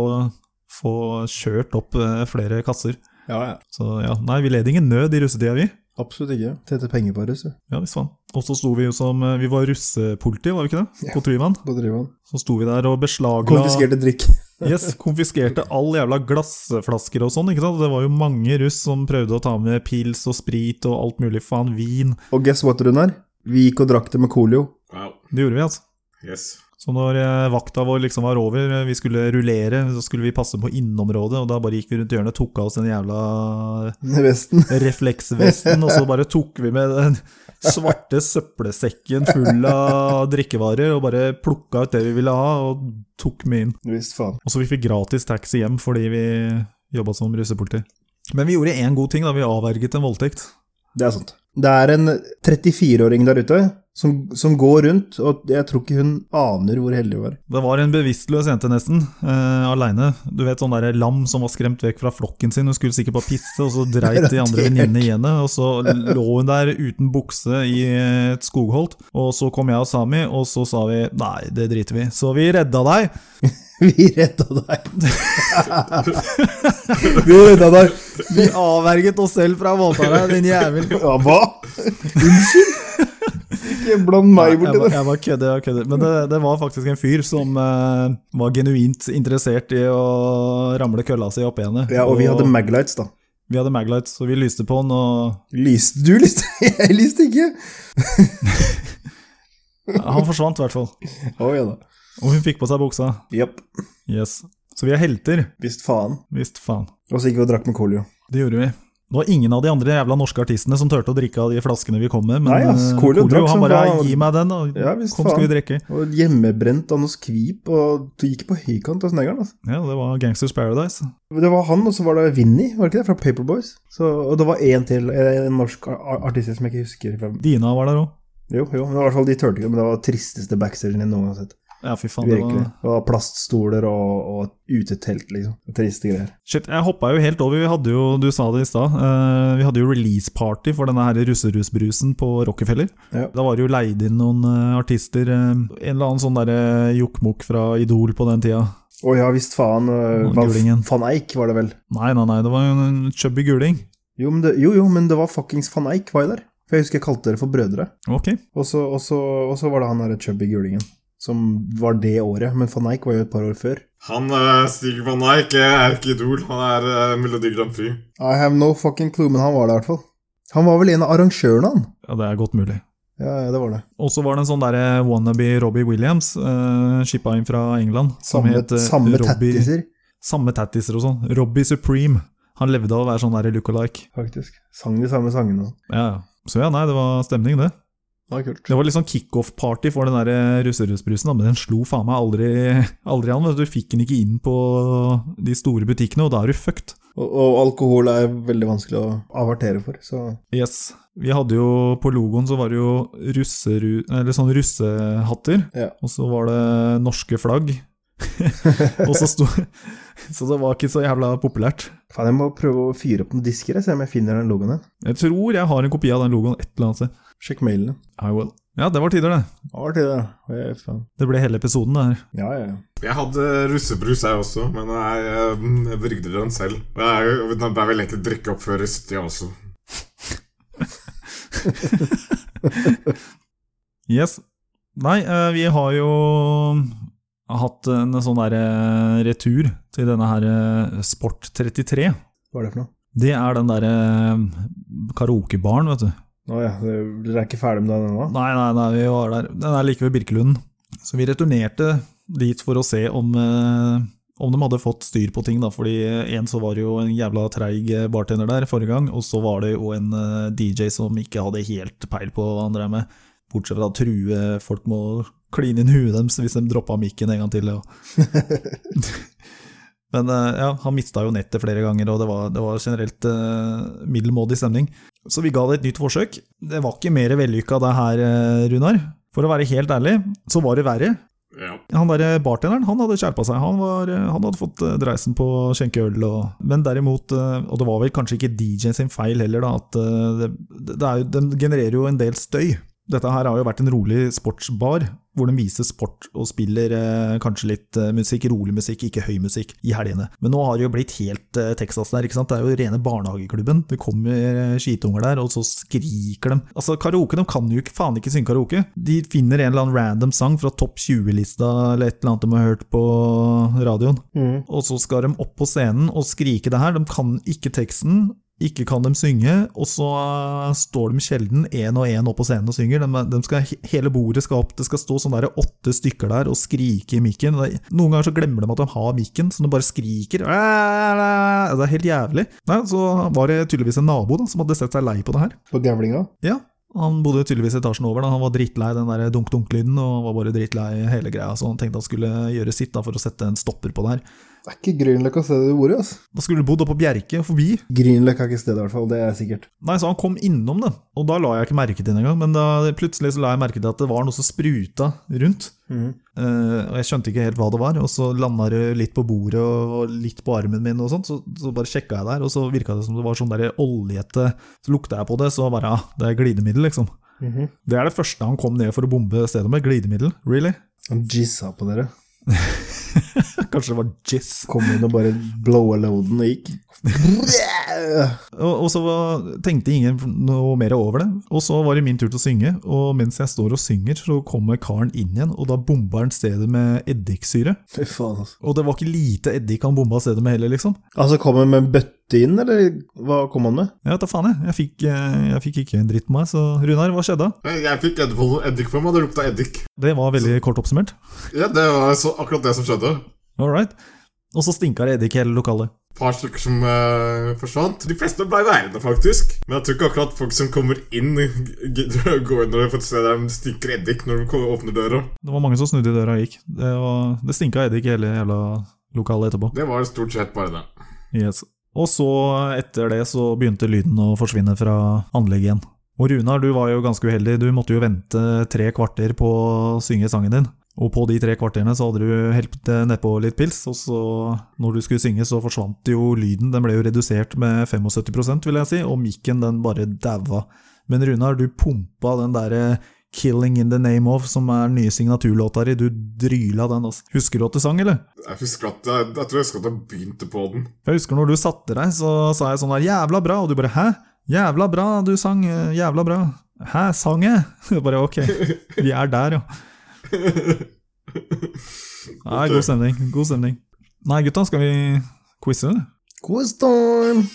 Speaker 1: få kjørt opp eh, flere kasser.
Speaker 4: Ja, ja.
Speaker 1: Så ja, nei, vi led ingen nød i russetida, vi.
Speaker 4: Absolutt ikke. Tjente penger på det, så.
Speaker 1: Ja, visst faen. Og så sto vi jo som eh, Vi var russepoliti, var vi ikke det? På Tryvann.
Speaker 4: På drivvann.
Speaker 1: Så sto vi der og beslagla
Speaker 4: Konfiskerte drikk.
Speaker 1: Yes, konfiskerte all jævla glassflasker og sånn, ikke sant. Det var jo mange russ som prøvde å ta med pils og sprit og alt mulig faen. Vin.
Speaker 4: Og guess what, Runar? Vi gikk og drakk det med Colio.
Speaker 2: Wow.
Speaker 1: Det gjorde vi, altså.
Speaker 2: Yes.
Speaker 1: Så når eh, vakta vår liksom var over, eh, vi skulle rullere, så skulle vi passe på inneområdet, og da bare gikk vi rundt hjørnet og tok av oss den jævla eh,
Speaker 4: I Vesten.
Speaker 1: refleksvesten, og så bare tok vi med den svarte søppelsekken full av drikkevarer og bare plukka ut det vi ville ha, og tok med inn.
Speaker 4: Visst faen.
Speaker 1: Og så vi fikk gratis taxi hjem fordi vi jobba som russepoliti. Men vi gjorde én god ting, da. Vi avverget en voldtekt.
Speaker 4: Det er sant. Det er en 34-åring der ute som, som går rundt, og jeg tror ikke hun aner hvor heldig hun var.
Speaker 1: Det var en bevisstløs jente, nesten, eh, aleine. Du vet sånn derre lam som var skremt vekk fra flokken sin, hun skulle sikkert bare pisse, og så dreit de andre venninnene i henne, og så lå hun der uten bukse i et skogholt. Og så kom jeg og Sami, og så sa vi nei, det driter vi i. Så vi redda deg.
Speaker 4: Vi redda deg. Vi redda deg.
Speaker 1: Vi avverget oss selv fra voldtakeren, din jævel.
Speaker 4: Ja, hva? Unnskyld? Ikke bland meg
Speaker 1: jeg,
Speaker 4: borti
Speaker 1: bare-
Speaker 4: det.
Speaker 1: jeg bare kødder, jeg kødder. Men det, det var faktisk en fyr som eh, var genuint interessert i å ramle kølla si oppi henne.
Speaker 4: Ja, og vi hadde maglights, da.
Speaker 1: vi hadde maglights, så vi lyste på den, og
Speaker 4: Lyste du? Lyste jeg? Lyste ikke?
Speaker 1: han forsvant i hvert fall.
Speaker 4: Å ja da.
Speaker 1: Og hun fikk på seg buksa.
Speaker 4: Japp.
Speaker 1: Yes. Så vi er helter,
Speaker 4: Visst faen.
Speaker 1: visst faen.
Speaker 4: Og så gikk vi og drakk med Colio.
Speaker 1: Det gjorde vi. Det var ingen av de andre jævla norske artistene som turte å drikke av de flaskene vi kom med, men
Speaker 4: Nei, ass,
Speaker 1: eh,
Speaker 4: Kolio drakk
Speaker 1: han
Speaker 4: som
Speaker 1: bare
Speaker 4: faen.
Speaker 1: 'gi meg den', og
Speaker 4: Ja, visst
Speaker 1: kom skal
Speaker 4: faen.
Speaker 1: vi drikke.
Speaker 4: Og hjemmebrent av noe skvip, og du gikk på høykant av snegeren, altså.
Speaker 1: Ja, det var Gangsters Paradise.
Speaker 4: Det var han, og så var det Vinni, var det ikke det? Fra Paperboys. Så, og det var én til, en norsk ar- artist som jeg ikke husker hvem.
Speaker 1: Dina var der òg.
Speaker 4: Jo, jo, men i hvert fall de turte ikke, men det var tristeste backstagen jeg noen gang har sett.
Speaker 1: Ja, fy faen. Det
Speaker 4: Virkelig.
Speaker 1: var
Speaker 4: Det var plaststoler og, og et utetelt, liksom. Triste greier.
Speaker 1: Shit, jeg hoppa jo helt over. Vi hadde jo, du sa det i stad, eh, vi hadde jo release-party for denne her russerusbrusen på Rockefeller.
Speaker 4: Ja.
Speaker 1: Da var det jo leid inn noen eh, artister. eh, en eller annen sånn derre jokkmokk fra Idol på den tida.
Speaker 4: Å ja visst
Speaker 1: Å,
Speaker 4: faen. øh, Van,
Speaker 1: gulingen.
Speaker 4: van Eijk var det vel.
Speaker 1: Nei, nei, nei, det var jo en chubby guling.
Speaker 4: Jo, men det, jo, jo, men det var fuckings van Eijk, var jeg der? For jeg husker jeg kalte dere for brødre.
Speaker 1: Ok.
Speaker 4: Og så, og så, og så var det han derre chubby gulingen. Som var det året, men van Eijk var jo et par år før.
Speaker 2: Han eh, Stig van Eijk eh, er ikke Idol, han er eh, Melodi Grand Prix.
Speaker 4: I have no fucking clue, men han var det i hvert fall. Han var vel en av arrangørene, han.
Speaker 1: Ja, det er godt mulig.
Speaker 4: Ja, ja, det var det.
Speaker 1: Og så var det en sånn derre wannabe Robbie Williams, uh, shippa inn fra England. som
Speaker 4: Samme,
Speaker 1: het, eh,
Speaker 4: samme
Speaker 1: Robbie-
Speaker 4: tattiser.
Speaker 1: Samme tattiser og sånn. Robbie Supreme. Han levde av å være sånn derre look-alike.
Speaker 4: Faktisk. Sang de samme sangene.
Speaker 1: Ja, ja. Så ja, nei, det var stemning, det.
Speaker 4: Det var kult.
Speaker 1: Det var litt sånn kickoff-party for den der eh, russerusbrusen, da, men den slo faen meg aldri, aldri an. vet Du Du fikk den ikke inn på de store butikkene, og da er du fucked.
Speaker 4: Og, og alkohol er veldig vanskelig å avertere for, så
Speaker 1: Yes. Vi hadde jo På logoen så var det jo russeru, eller sånn russehatter,
Speaker 4: Ja.
Speaker 1: og så var det norske flagg. og så sto Så det var ikke så jævla populært.
Speaker 4: Faen, jeg må prøve å fyre opp noen disker, jeg, se om jeg finner den logoen her.
Speaker 1: Jeg tror jeg har en kopi av den logoen et eller annet sted.
Speaker 4: Sjekk mailen.
Speaker 1: I will. Ja, det var tider, det.
Speaker 4: Det var til det. Å, jeg- faen.
Speaker 1: Det ble hele episoden, det her.
Speaker 4: Ja, ja, ja.
Speaker 2: Jeg hadde russebrus, jeg også, men jeg, eh, jeg brygde den selv. Og Jeg, er jo- den ble vel egentlig drikke opp før russetida også.
Speaker 1: Yes. Nei, eh, vi har jo hatt en sånn der eh, retur til denne her eh, Sport 33.
Speaker 4: Hva er det for noe?
Speaker 1: Det er den derre eh, karaokebaren, vet du.
Speaker 3: Å ja, det- dere er ikke ferdig med den ennå?
Speaker 1: Nei, nei, nei, vi var der. Den er like ved Birkelunden. Så vi returnerte dit for å se om, eh, om de hadde fått styr på ting, da. Fordi eh, en så var det jo en jævla treig eh, bartender der forrige gang, og så var det jo en eh, DJ som ikke hadde helt peil på hva han drev med. Bortsett fra å true folk med å kline inn huet deres hvis de droppa mikken en gang til. Og. Men eh, ja, han mista jo nettet flere ganger, og det var, det var generelt eh, middelmådig stemning. Så vi ga det et nytt forsøk. Det var ikke mer vellykka det her, eh, Runar. For å være helt ærlig, så var det verre.
Speaker 2: Ja.
Speaker 1: Han der eh, bartenderen han hadde skjerpa seg. Han, var, eh, han hadde fått eh, dreisen på å skjenke øl. Og, men derimot, eh, og det var vel kanskje ikke DJ-en sin feil heller, da, at eh, det, det er jo, den genererer jo en del støy. Dette her har jo vært en rolig sportsbar, hvor de viser sport og spiller eh, kanskje litt eh, musikk, rolig musikk, ikke høy musikk, i helgene. Men nå har det jo blitt helt eh, Texas der, ikke sant? Det er jo rene barnehageklubben. Det kommer eh, skitunger der, og så skriker de. Altså, karaoke, de kan jo ikke, faen ikke synge karaoke. De finner en eller annen random sang fra topp 20-lista, eller et eller annet de har hørt på radioen.
Speaker 4: Mm.
Speaker 1: Og så skal de opp på scenen og skrike det her. De kan ikke teksten, ikke kan de synge, og så eh, står de sjelden én og én opp på scenen og synger. De, de skal, hele bordet skal opp, det skal stå sånn der åtte stykker der og skrike i mikken. Det- Noen ganger så glemmer de at de har mikken, så de bare skriker. Det er helt jævlig. Nei, så var det tydeligvis en nabo da, som hadde sett seg lei på det her.
Speaker 4: På gavlinga.
Speaker 1: Ja, han bodde jo tydeligvis etasjen over. da Han var drittlei den der dunk-dunk-lyden og var bare drittlei hele greia, så han tenkte han skulle gjøre sitt da for å sette en stopper på det her.
Speaker 4: Det er ikke Grünerløkka stedet du bor i, altså.
Speaker 1: Da skulle du bodd oppe på Bjerke, forbi.
Speaker 4: Grünerløkka er ikke stedet, i hvert fall. Det er sikkert.
Speaker 1: Nei, så han kom innom det, og da la jeg ikke merke til det engang. Men da, plutselig så la jeg merke til at det var noe som spruta rundt.
Speaker 3: Mhm.
Speaker 4: Mm.
Speaker 1: Eh, og jeg skjønte ikke helt hva det var, og så landa det litt på bordet og og litt på armen min, og sånt, så, så bare sjekka jeg der, og så virka det som det var sånn der oljete Så lukta jeg på det, så bare ja, det er glidemiddel, liksom.
Speaker 4: Mhm.
Speaker 1: Det er det første han kom ned for å bombe stedet med. Glidemiddel? Really?
Speaker 4: Han jizza på dere.
Speaker 1: Kanskje det var jizz?
Speaker 4: Kom inn og bare blowa loaden og gikk.
Speaker 1: Og, og så var, tenkte ingen noe mer over det. Og så var det min tur til å synge, og mens jeg står og synger, så kommer karen inn igjen, og da bomba han stedet med eddiksyre.
Speaker 4: Fy faen, altså.
Speaker 1: Og det var ikke lite eddik han bomba stedet med heller, liksom.
Speaker 4: Altså, kom han med en bøtte inn, eller hva kom han med?
Speaker 1: Jeg vet da faen, jeg. Jeg fikk, eh, jeg fikk ikke en dritt på meg, så Runar, hva skjedde?
Speaker 2: Nei, Eh, Jeg fikk edderkopp- eddik på meg, det lukta eddik.
Speaker 1: Det var veldig kort oppsummert.
Speaker 2: Ja, Det var så akkurat det som skjedde.
Speaker 1: All right. Og så stinka det eddik i hele lokalet.
Speaker 2: Et par stykker som eh, forsvant. De fleste ble værende, faktisk. Men jeg tror ikke akkurat folk som kommer inn, gidder å gå inn når de får se dem stinker eddik når de ko- åpner døra.
Speaker 1: Det var mange som snudde i døra og gikk. Det, var, det stinka eddik i hele jævla lokalet etterpå.
Speaker 2: Det var stort sett bare det.
Speaker 1: Yes. Og så, etter det, så begynte lyden å forsvinne fra anlegget igjen. Og Runar, du var jo ganske uheldig. Du måtte jo vente tre kvarter på å synge sangen din. Og på de tre kvarterne så hadde du helt nedpå litt pils, og så, når du skulle synge, så forsvant jo lyden. Den ble jo redusert med 75 vil jeg si, og mikken den bare daua. Men Runar, du pumpa den derre Killing in the name of, som er den nye signaturlåta di. Du dryla den, altså. Husker du at du sang, eller?
Speaker 2: Jeg husker at jeg, jeg tror jeg husker at jeg begynte på den.
Speaker 1: For Jeg husker når du satte deg, så sa jeg sånn der 'jævla bra', og du bare 'hæ? Jævla bra, du sang. eh, Jævla bra'. Hæ, sang jeg? Jeg bare ok, vi er der, ja. Nei, god stemning. God stemning. Nei, gutta, skal vi quize? eller?
Speaker 4: Quiz time!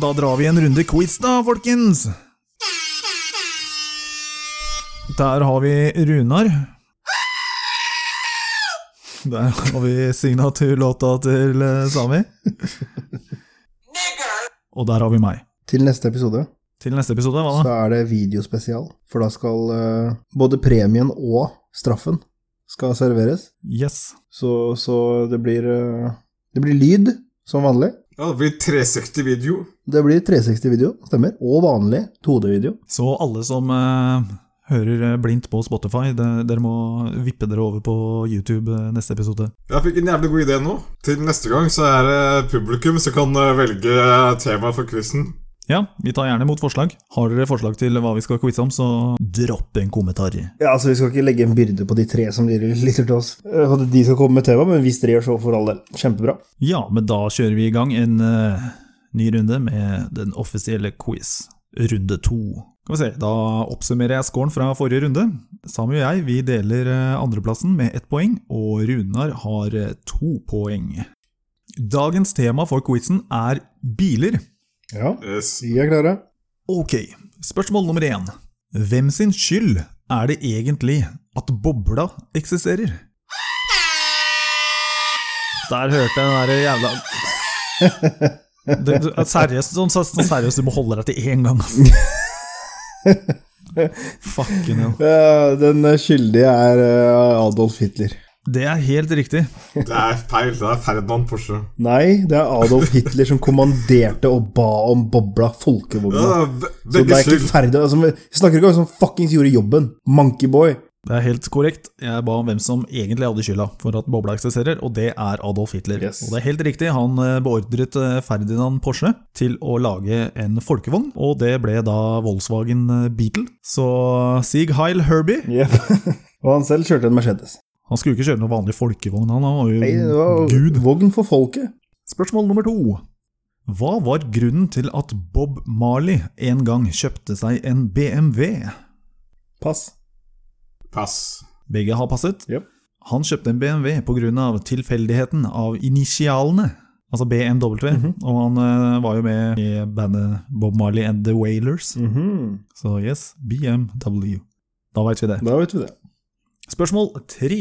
Speaker 1: Da drar vi en runde quiz, da, folkens! Der har vi Runar. Der har vi signaturlåta til eh, Sami. Og der har vi meg.
Speaker 4: Til neste episode
Speaker 1: Til neste episode, hva
Speaker 4: så
Speaker 1: da?
Speaker 4: er det videospesial, for da skal eh, både premien og straffen skal serveres.
Speaker 1: Yes.
Speaker 4: Så, så det blir eh, Det blir lyd, som vanlig.
Speaker 2: Ja, det blir 360-video.
Speaker 4: Det blir 360-video, stemmer. Og vanlig 2D-video.
Speaker 1: Så alle som eh, hører eh, blindt på Spotify, de, dere må vippe dere over på YouTube eh, neste episode.
Speaker 2: Jeg fikk en jævlig god idé nå. Til neste gang så er det publikum som kan eh, velge tema for quizen.
Speaker 1: Ja, vi tar gjerne imot forslag. Har dere forslag til hva vi skal quize om, så dropp en kommentar.
Speaker 4: Ja, altså Vi skal ikke legge en byrde på de tre som lytter lytter til oss. Eh, At de skal komme med tema, men hvis dere gjør så, for all del. Kjempebra.
Speaker 1: Ja, men da kjører vi i gang en eh, ny runde med den offisielle quiz. Runde to. Skal vi se, da oppsummerer jeg scoren fra forrige runde. Sami og jeg vi deler eh, andreplassen med ett poeng, og Runar har eh, to poeng. Dagens tema for quizen er biler.
Speaker 4: Ja,
Speaker 2: Yes.
Speaker 4: vi er klare.
Speaker 1: Ok, spørsmål nummer én. Hvem sin skyld er det egentlig at bobla eksisterer? Der hørte jeg den der jævla det, det, Seriøst, sånn, sånn seriøst, du må holde deg til én gang, altså. Fucking hell.
Speaker 4: Eh, Den skyldige er eh, Adolf Hitler.
Speaker 1: Det er helt riktig.
Speaker 2: Det er feil. Det er Ferdinand Porsche.
Speaker 4: Nei, det er Adolf Hitler som kommanderte og ba om bobla, folkebobla.
Speaker 2: Ja, be-
Speaker 4: Så det
Speaker 2: begge
Speaker 4: er ikke
Speaker 2: skyld.
Speaker 4: ferdig altså, Vi snakker ikke om som fuckings gjorde jobben. Monkeyboy.
Speaker 1: Det er helt korrekt. Jeg ba om hvem som egentlig hadde skylda for at bobla eksisterer, og det er Adolf Hitler.
Speaker 4: Yes.
Speaker 1: Og det er helt riktig, han eh, beordret eh, Ferdinand Porsche til å lage en folkevogn, og det ble da Volkswagen eh, Beetle. Så Sig Heil Herbie
Speaker 4: og han selv kjørte en Mercedes.
Speaker 1: Han skulle jo ikke kjøre noen vanlig folkevogn, han var jo
Speaker 4: Nei, det var
Speaker 1: gud.
Speaker 4: Vogn for folket.
Speaker 1: Spørsmål nummer to. Hva var grunnen til at Bob Marley en gang kjøpte seg en BMW?
Speaker 4: Pass.
Speaker 2: Pass.
Speaker 1: Begge har passet.
Speaker 4: Jep.
Speaker 1: Han kjøpte en BMW pga. tilfeldigheten av initialene, altså BMW. Og han eh, var jo med i bandet Bob Marley and The Wailers.
Speaker 4: Mhm.
Speaker 1: Så yes, BMW. Da veit vi det.
Speaker 4: Da vet vi det.
Speaker 1: Spørsmål tre.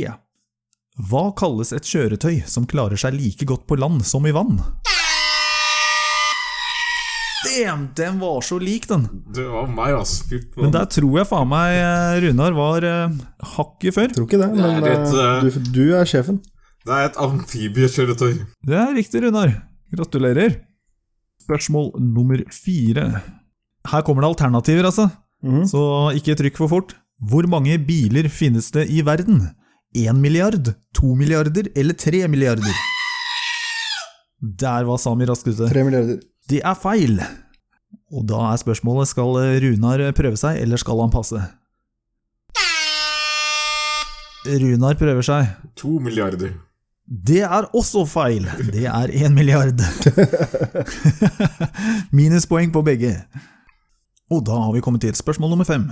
Speaker 1: Hva kalles et kjøretøy som klarer seg like godt på land som i vann? Damn, den var så lik, den!
Speaker 2: Det var meg, ass. Fy faen.
Speaker 1: Men der tror jeg faen meg eh, Runar var eh, hakket før.
Speaker 4: Tror ikke det,
Speaker 2: Det
Speaker 4: men
Speaker 2: er et,
Speaker 4: eh, du, du er sjefen.
Speaker 2: Det er et amfibiekjøretøy.
Speaker 1: Det er riktig, Runar. Gratulerer. Spørsmål nummer fire. Her kommer det alternativer, altså.
Speaker 4: Mhm.
Speaker 1: Så ikke trykk for fort. Hvor mange biler finnes det i verden? Én milliard, to milliarder eller tre milliarder? Der var Sami raskt ute.
Speaker 4: Tre milliarder.
Speaker 1: Det er feil! Og da er spørsmålet skal Runar prøve seg, eller skal han passe? Runar prøver seg.
Speaker 2: To milliarder.
Speaker 1: Det er også feil. Det er én milliard. Minuspoeng på begge. Og da har vi kommet til spørsmål nummer fem.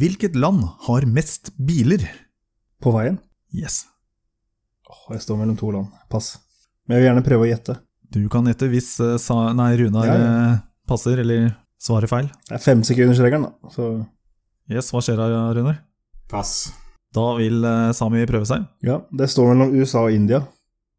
Speaker 1: Hvilket land har mest biler?
Speaker 4: På veien?
Speaker 1: Yes,
Speaker 4: Åh, jeg står mellom to land. Pass. Men jeg vil gjerne prøve å gjette.
Speaker 1: du kan gjette hvis eh, sa, nei, Runar
Speaker 4: Ja, ja.
Speaker 1: eh, passer eller svarer feil.
Speaker 4: Det er femsekundersregelen, da. Så
Speaker 1: Yes, hva skjer da, Runar?
Speaker 2: Pass.
Speaker 1: Da vil eh, Sami prøve seg.
Speaker 4: ja, det står mellom USA og India.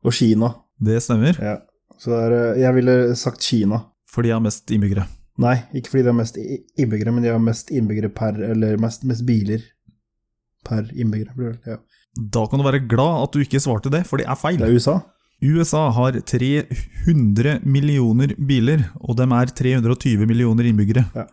Speaker 4: Og Kina.
Speaker 1: Det stemmer,
Speaker 4: Ja. Så det er, eh, jeg ville sagt Kina.
Speaker 1: for de har mest innbyggere.
Speaker 4: Nei, ikke fordi de har mest i- innbyggere, men de har mest innbyggere per Eller mest, mest biler per innbyggere. blir det vel, Ja.
Speaker 1: Da kan du være glad at du ikke svarte det, for det er feil.
Speaker 4: Det er USA.
Speaker 1: USA har 300 millioner biler, og dem er 320 millioner innbyggere.
Speaker 4: Ja.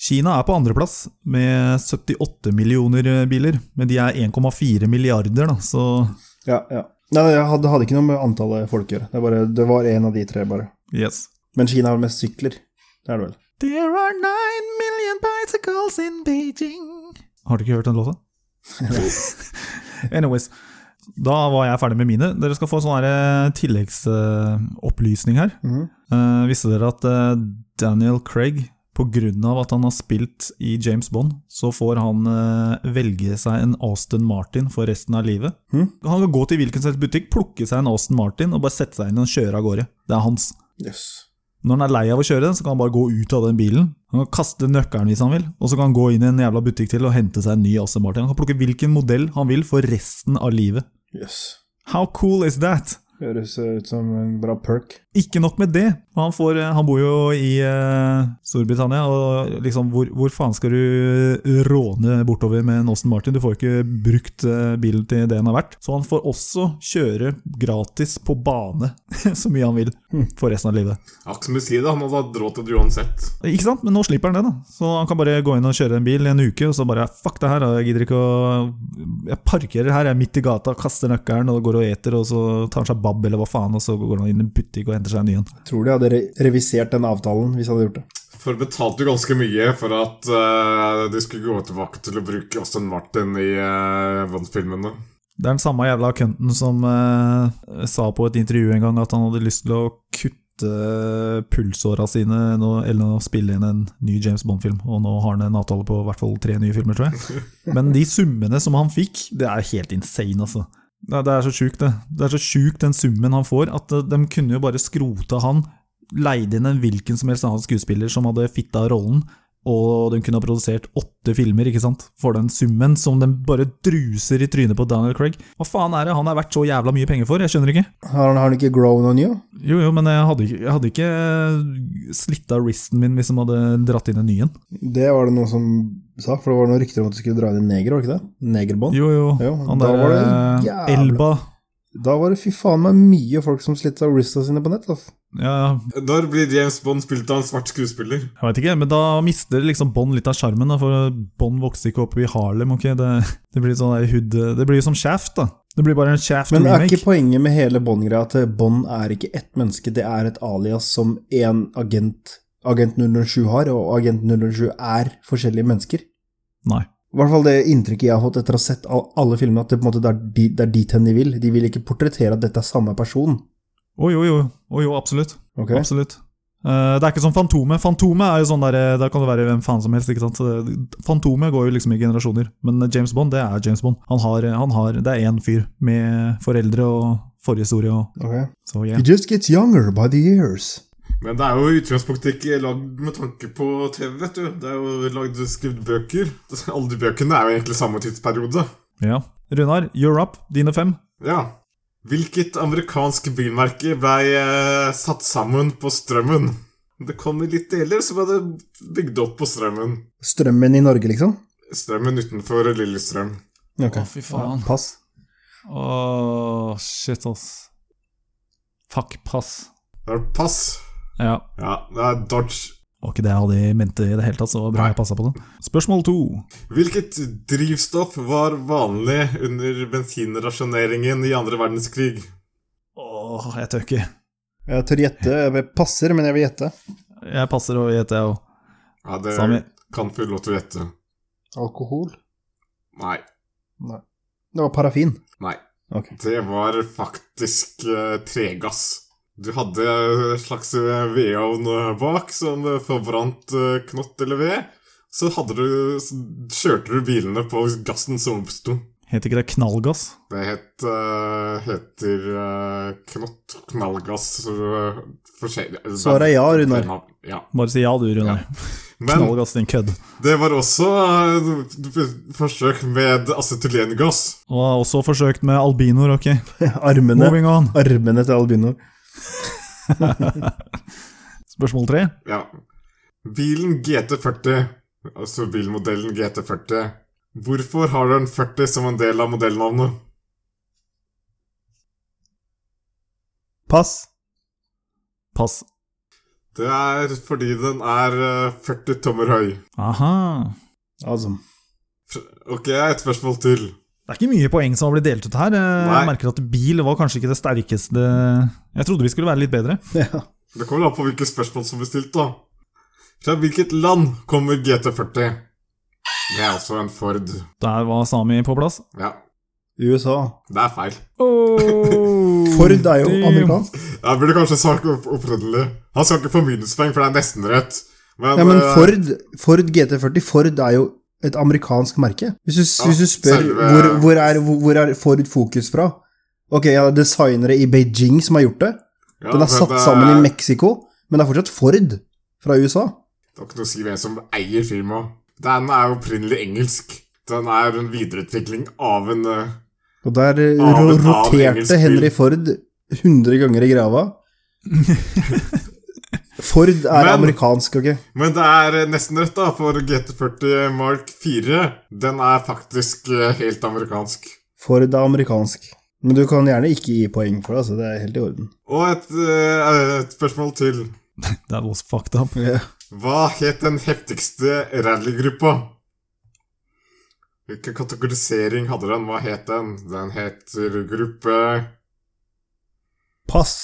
Speaker 1: Kina er på andreplass med 78 millioner eh, biler, men de er 1,4 milliarder, da, så
Speaker 4: Ja, ja. Nei, nei, jeg hadde, hadde ikke noe med antallet folk å gjøre. Det, er bare, det var en av de tre, bare.
Speaker 1: yes.
Speaker 4: Men Kina har mest sykler. Det er det vel.
Speaker 1: There are nine million bicycles in Beijing Har du ikke hørt den låta? Anyways. Da var jeg ferdig med mine. Dere skal få sånn tilleggsopplysning her.
Speaker 4: Mhm.
Speaker 1: Eh, visste dere at eh, Daniel Craig, pga. at han har spilt i James Bond, så får han eh, velge seg en Aston Martin for resten av livet?
Speaker 4: Mhm.
Speaker 1: Han kan gå til hvilken som helst butikk, plukke seg en Aston Martin og bare sette seg inn i den og kjøre av gårde. Det er hans.
Speaker 4: Yes.
Speaker 1: Når han er lei av å kjøre den, så kan han bare gå ut av den bilen. Han kan kaste nøkkelen hvis han vil, og så kan han gå inn i en jævla butikk til og hente seg en ny Aston Martin. Han kan plukke hvilken modell han vil for resten av livet.
Speaker 4: Yes.
Speaker 1: How cool is that?
Speaker 4: Høres eh, ut som en bra perk.
Speaker 1: Ikke nok med det. Han, får, han bor jo i eh, Storbritannia, og liksom, hvor, hvor faen skal du råne bortover med en Aston Martin? Du får jo ikke brukt eh, bilen til det den er verdt. Så han får også kjøre gratis på bane så mye han vil for resten av livet.
Speaker 2: Akkurat som du sier det, han hadde hatt råd til det uansett.
Speaker 1: Ikke sant? Men nå slipper han det, da. Så han kan bare gå inn og kjøre en bil i en uke, og så bare fuck det her, da. jeg gidder ikke å Jeg parkerer her, jeg er midt i gata, kaster nøkkelen og går og eter, og så tar han seg babb eller hva faen, og så går han inn i en butikk og henter seg en ny en.
Speaker 4: Tror de hadde re revisert den avtalen hvis de hadde gjort det.
Speaker 2: For betalte jo ganske mye for at eh, de skulle gå tilbake til å bruke Aston Martin i uh, Bond-filmene.
Speaker 1: Det er den samme jævla kønten som eh, sa på et intervju en gang at han hadde lyst til å kutte pulsåra sine nå- eller å spille inn en ny James Bond-film, og nå har han en avtale på i hvert fall tre nye filmer, tror jeg. Men de summene som han fikk, det er helt insane, altså. Det, det er så sjukt, det. Det er så sjukt den summen han får, at eh, de kunne jo bare skrota han, leid inn en hvilken som helst annen skuespiller som hadde fitta rollen, og de kunne ha produsert åtte filmer, ikke sant, for den summen som de bare druser i trynet på Daniel Craig. Hva faen er det han er verdt så jævla mye penger for? Jeg skjønner ikke.
Speaker 4: Har han, har han ikke grown on you?
Speaker 1: Jo, jo, men jeg hadde ikke, jeg hadde ikke slitt av wristen min hvis de hadde dratt inn en ny en.
Speaker 4: Det var det noen som sa, for det var noen rykter om at de skulle dra inn en neger, var det ikke det? Negerbånd.
Speaker 1: Jo, jo.
Speaker 4: Jo,
Speaker 1: Han
Speaker 4: da var
Speaker 1: der
Speaker 4: det
Speaker 1: eh,
Speaker 4: jævla-
Speaker 1: Elba.
Speaker 4: Da var det fy faen meg mye folk som slitt av wrista sine på nett, altså.
Speaker 1: Ja, ja.
Speaker 2: Når blir James Bond spilt av en svart skuespiller?
Speaker 1: Jeg vet ikke, men da mister liksom Bond litt av sjarmen, da, for Bond vokste ikke opp i Harlem. ok? Det, det blir sånn der hud... Det blir jo som Shaft, da. Det blir bare en
Speaker 4: Men er
Speaker 1: Shaft-remake.
Speaker 4: ikke poenget med hele Bond-greia at Bond er ikke ett menneske, det er et alias som én agent, agent 007 har, og agent 007 er forskjellige mennesker?
Speaker 1: Nei.
Speaker 4: I hvert fall det inntrykket jeg har fått etter å ha sett all- alle filmene, at det, på en måte, det, er de, det er dit hen de vil. De vil ikke portrettere at dette er samme person.
Speaker 1: Å jo, jo. Å jo, absolutt.
Speaker 4: Ok?
Speaker 1: Absolutt. Eh, det er ikke som Fantomet. Fantomet er jo sånn der, eh, Da kan det være hvem faen som helst. ikke sant? Så det- Fantomet går jo liksom i generasjoner. Men James Bond, det er James Bond. Han har, han har, det er én fyr med foreldre og forhistorie og
Speaker 4: Ok.
Speaker 1: så yeah.
Speaker 4: He just gets younger by the years.
Speaker 2: Men det er jo i utgangspunktet ikke lagd med tanke på TV, vet du. Det er jo lagd skrevet bøker. Alle de bøkene er jo egentlig samme tidsperiode.
Speaker 1: Ja. Runar, you're up. Dine fem.
Speaker 2: Ja. Hvilket amerikansk bilmerke blei eh, satt sammen på strømmen? Det kom i litt deler, så ble det bygd opp på strømmen.
Speaker 4: Strømmen i Norge, liksom?
Speaker 2: Strømmen utenfor Lillestrøm.
Speaker 4: Ok.
Speaker 1: Å, fy faen.
Speaker 4: Ja, pass.
Speaker 1: Åh, shit, ass. Fuck, pass.
Speaker 2: Det er pass.
Speaker 1: Ja.
Speaker 2: Ja, det er Dodge.
Speaker 1: Var ikke det jeg hadde i mente i det hele tatt, så det var bra jeg passa på det. Spørsmål to.
Speaker 2: Hvilket drivstoff var vanlig under bensinrasjoneringen i andre verdenskrig?
Speaker 1: Åh, jeg tør ikke.
Speaker 4: Jeg tør gjette. Jeg passer, men jeg vil gjette.
Speaker 1: Jeg passer og gjeter, jeg òg.
Speaker 2: Ja, det
Speaker 1: Sami.
Speaker 2: kan få lov til å gjette.
Speaker 4: Alkohol?
Speaker 2: Nei.
Speaker 4: Det var parafin.
Speaker 2: Nei.
Speaker 4: Ok.
Speaker 2: Det var faktisk eh, tregass. Du hadde en slags eh, vedovn eh, bak som eh, forbrant eh, knott eller ved. Så, hadde du, så kjørte du bilene på gassen som oppsto.
Speaker 1: Heter ikke det knallgass?
Speaker 2: Det het, eh, heter eh, knott, knallgass uh,
Speaker 4: Svaret er ja, Runar.
Speaker 2: Ja.
Speaker 1: Bare si ja, du, Runar.
Speaker 2: Men
Speaker 1: Knallgass, din kødd.
Speaker 2: det var også eh, forsøk med acetylengass.
Speaker 1: Og har også forsøkt med albinoer, ok?
Speaker 4: Armene.
Speaker 1: Moving on.
Speaker 4: Armene til albino.
Speaker 1: Spørsmål tre.
Speaker 2: Ja. Bilen GT40, altså bilmodellen GT40, hvorfor har du en 40 som en del av modellnavnet?
Speaker 4: Pass.
Speaker 1: Pass.
Speaker 2: Det er fordi den er eh, 40 tommer høy.
Speaker 1: Aha.
Speaker 4: Awesome.
Speaker 2: Ok, et spørsmål til.
Speaker 1: Det er ikke mye poeng som har blitt delt ut her.
Speaker 2: Nei.
Speaker 1: Jeg merker at bil var kanskje ikke det sterkeste Jeg trodde vi skulle være litt bedre.
Speaker 4: Ja.
Speaker 2: Det kommer an på hvilke spørsmål som blir stilt, da. Fra hvilket land kommer GT40? Det er altså en Ford.
Speaker 1: Der var Sami på plass.
Speaker 2: Ja,
Speaker 4: USA.
Speaker 2: det er feil. Oh!
Speaker 4: Ford er jo
Speaker 1: Mm,
Speaker 4: amerikansk.
Speaker 2: Jeg burde kanskje sagt opp- opprinnelig. Han skal ikke få minuspoeng, for det er nesten rett. Men,
Speaker 4: Ja, men
Speaker 2: eh,
Speaker 4: Ford, Ford GT40 Ford er jo et amerikansk merke. Hvis du,
Speaker 2: Ja,
Speaker 4: hvis du spør
Speaker 2: selve-
Speaker 4: hvor, hvor, er, hvor, hvor er Ford fokus fra Ok, ja, designere i Beijing som har gjort det.
Speaker 2: ja,
Speaker 4: Den er
Speaker 2: men
Speaker 4: satt
Speaker 2: det-
Speaker 4: sammen i Mexico, men det er fortsatt Ford fra USA.
Speaker 2: Det har ikke noe å si hvem som eier firmaet. Den er jo opprinnelig engelsk. Den er en videreutvikling av en eh,
Speaker 4: Og der eh,
Speaker 2: Ja,
Speaker 4: ro-
Speaker 2: men da er det engelsk
Speaker 4: roterte
Speaker 2: bil.
Speaker 4: Henry Ford 100 ganger i grava. Ford er
Speaker 2: Men-
Speaker 4: amerikansk, ok?
Speaker 2: Men det er eh, nesten rett, da, for GT40 Mark 4. Den er faktisk eh, helt amerikansk.
Speaker 4: Ford er amerikansk. Men du kan gjerne ikke gi poeng for det, altså. Det er helt i orden.
Speaker 2: Og et, eh, et spørsmål til.
Speaker 1: That was fucked up.
Speaker 2: Hva het den heftigste rallygruppa? Hvilken kategorisering hadde den? Hva het den? Den heter gruppe
Speaker 4: Pass.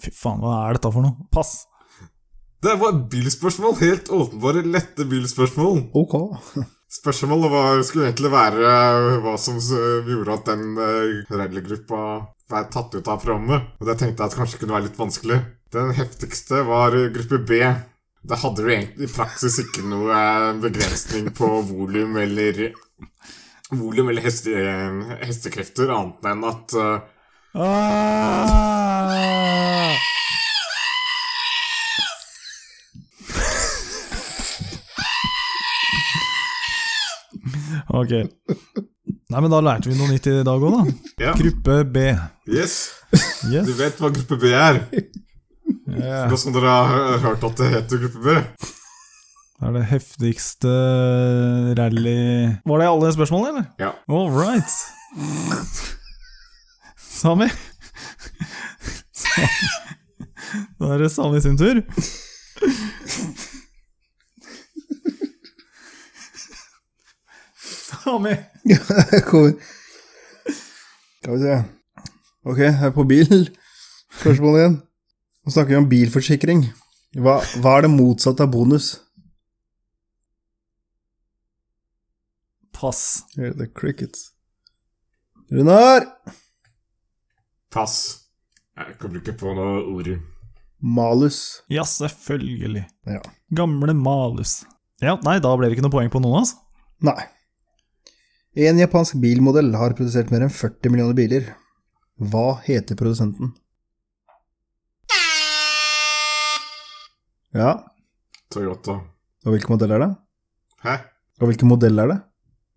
Speaker 1: Fy faen, hva er dette for noe? Pass.
Speaker 2: Det var bilspørsmål! Helt åpenbare, lette bilspørsmål.
Speaker 4: Ok.
Speaker 2: Spørsmålet var, skulle egentlig være hva som eh, gjorde at den eh, rallygruppa ble tatt ut av programmet. Og det tenkte jeg at kanskje kunne være litt vanskelig. Den heftigste var eh, gruppe B. Da hadde du egentlig i praksis ikke noe eh, begrensning på volum eller volum eller heste, eh, hestekrefter, annet enn at eh,
Speaker 1: Ah! Ok. Nei, men da lærte vi noe nytt i dag òg, da.
Speaker 2: Ja,
Speaker 1: Gruppe B.
Speaker 2: yes.
Speaker 1: Yes.
Speaker 2: Du vet hva gruppe B er.
Speaker 1: Ja.
Speaker 2: Nå som dere har hørt at det heter gruppe B.
Speaker 1: Det er det heftigste eh, rally Var det alle spørsmålene, eller?
Speaker 2: Ja.
Speaker 1: All right. Sami. Da er det Sami sin tur. Sami.
Speaker 4: Kommer. Skal vi se. Ok, jeg er på bil. Spørsmål igjen. Nå snakker vi om bilforsikring. Hva, hva er det motsatte av bonus?
Speaker 1: Pass.
Speaker 4: Hear the crickets. Runar!
Speaker 2: Pass. Jeg kommer ikke på noe ord.
Speaker 4: Malus.
Speaker 1: Ja, selvfølgelig.
Speaker 4: Ja.
Speaker 1: Gamle malus. Ja, nei, da ble det ikke noe poeng på noen altså. av oss.
Speaker 4: Nei. En japansk bilmodell har produsert mer enn 40 millioner biler. Hva heter produsenten? Ja,
Speaker 2: Toyota.
Speaker 4: og hvilken modell er det?
Speaker 2: Hæ?
Speaker 4: Og hvilken modell er det?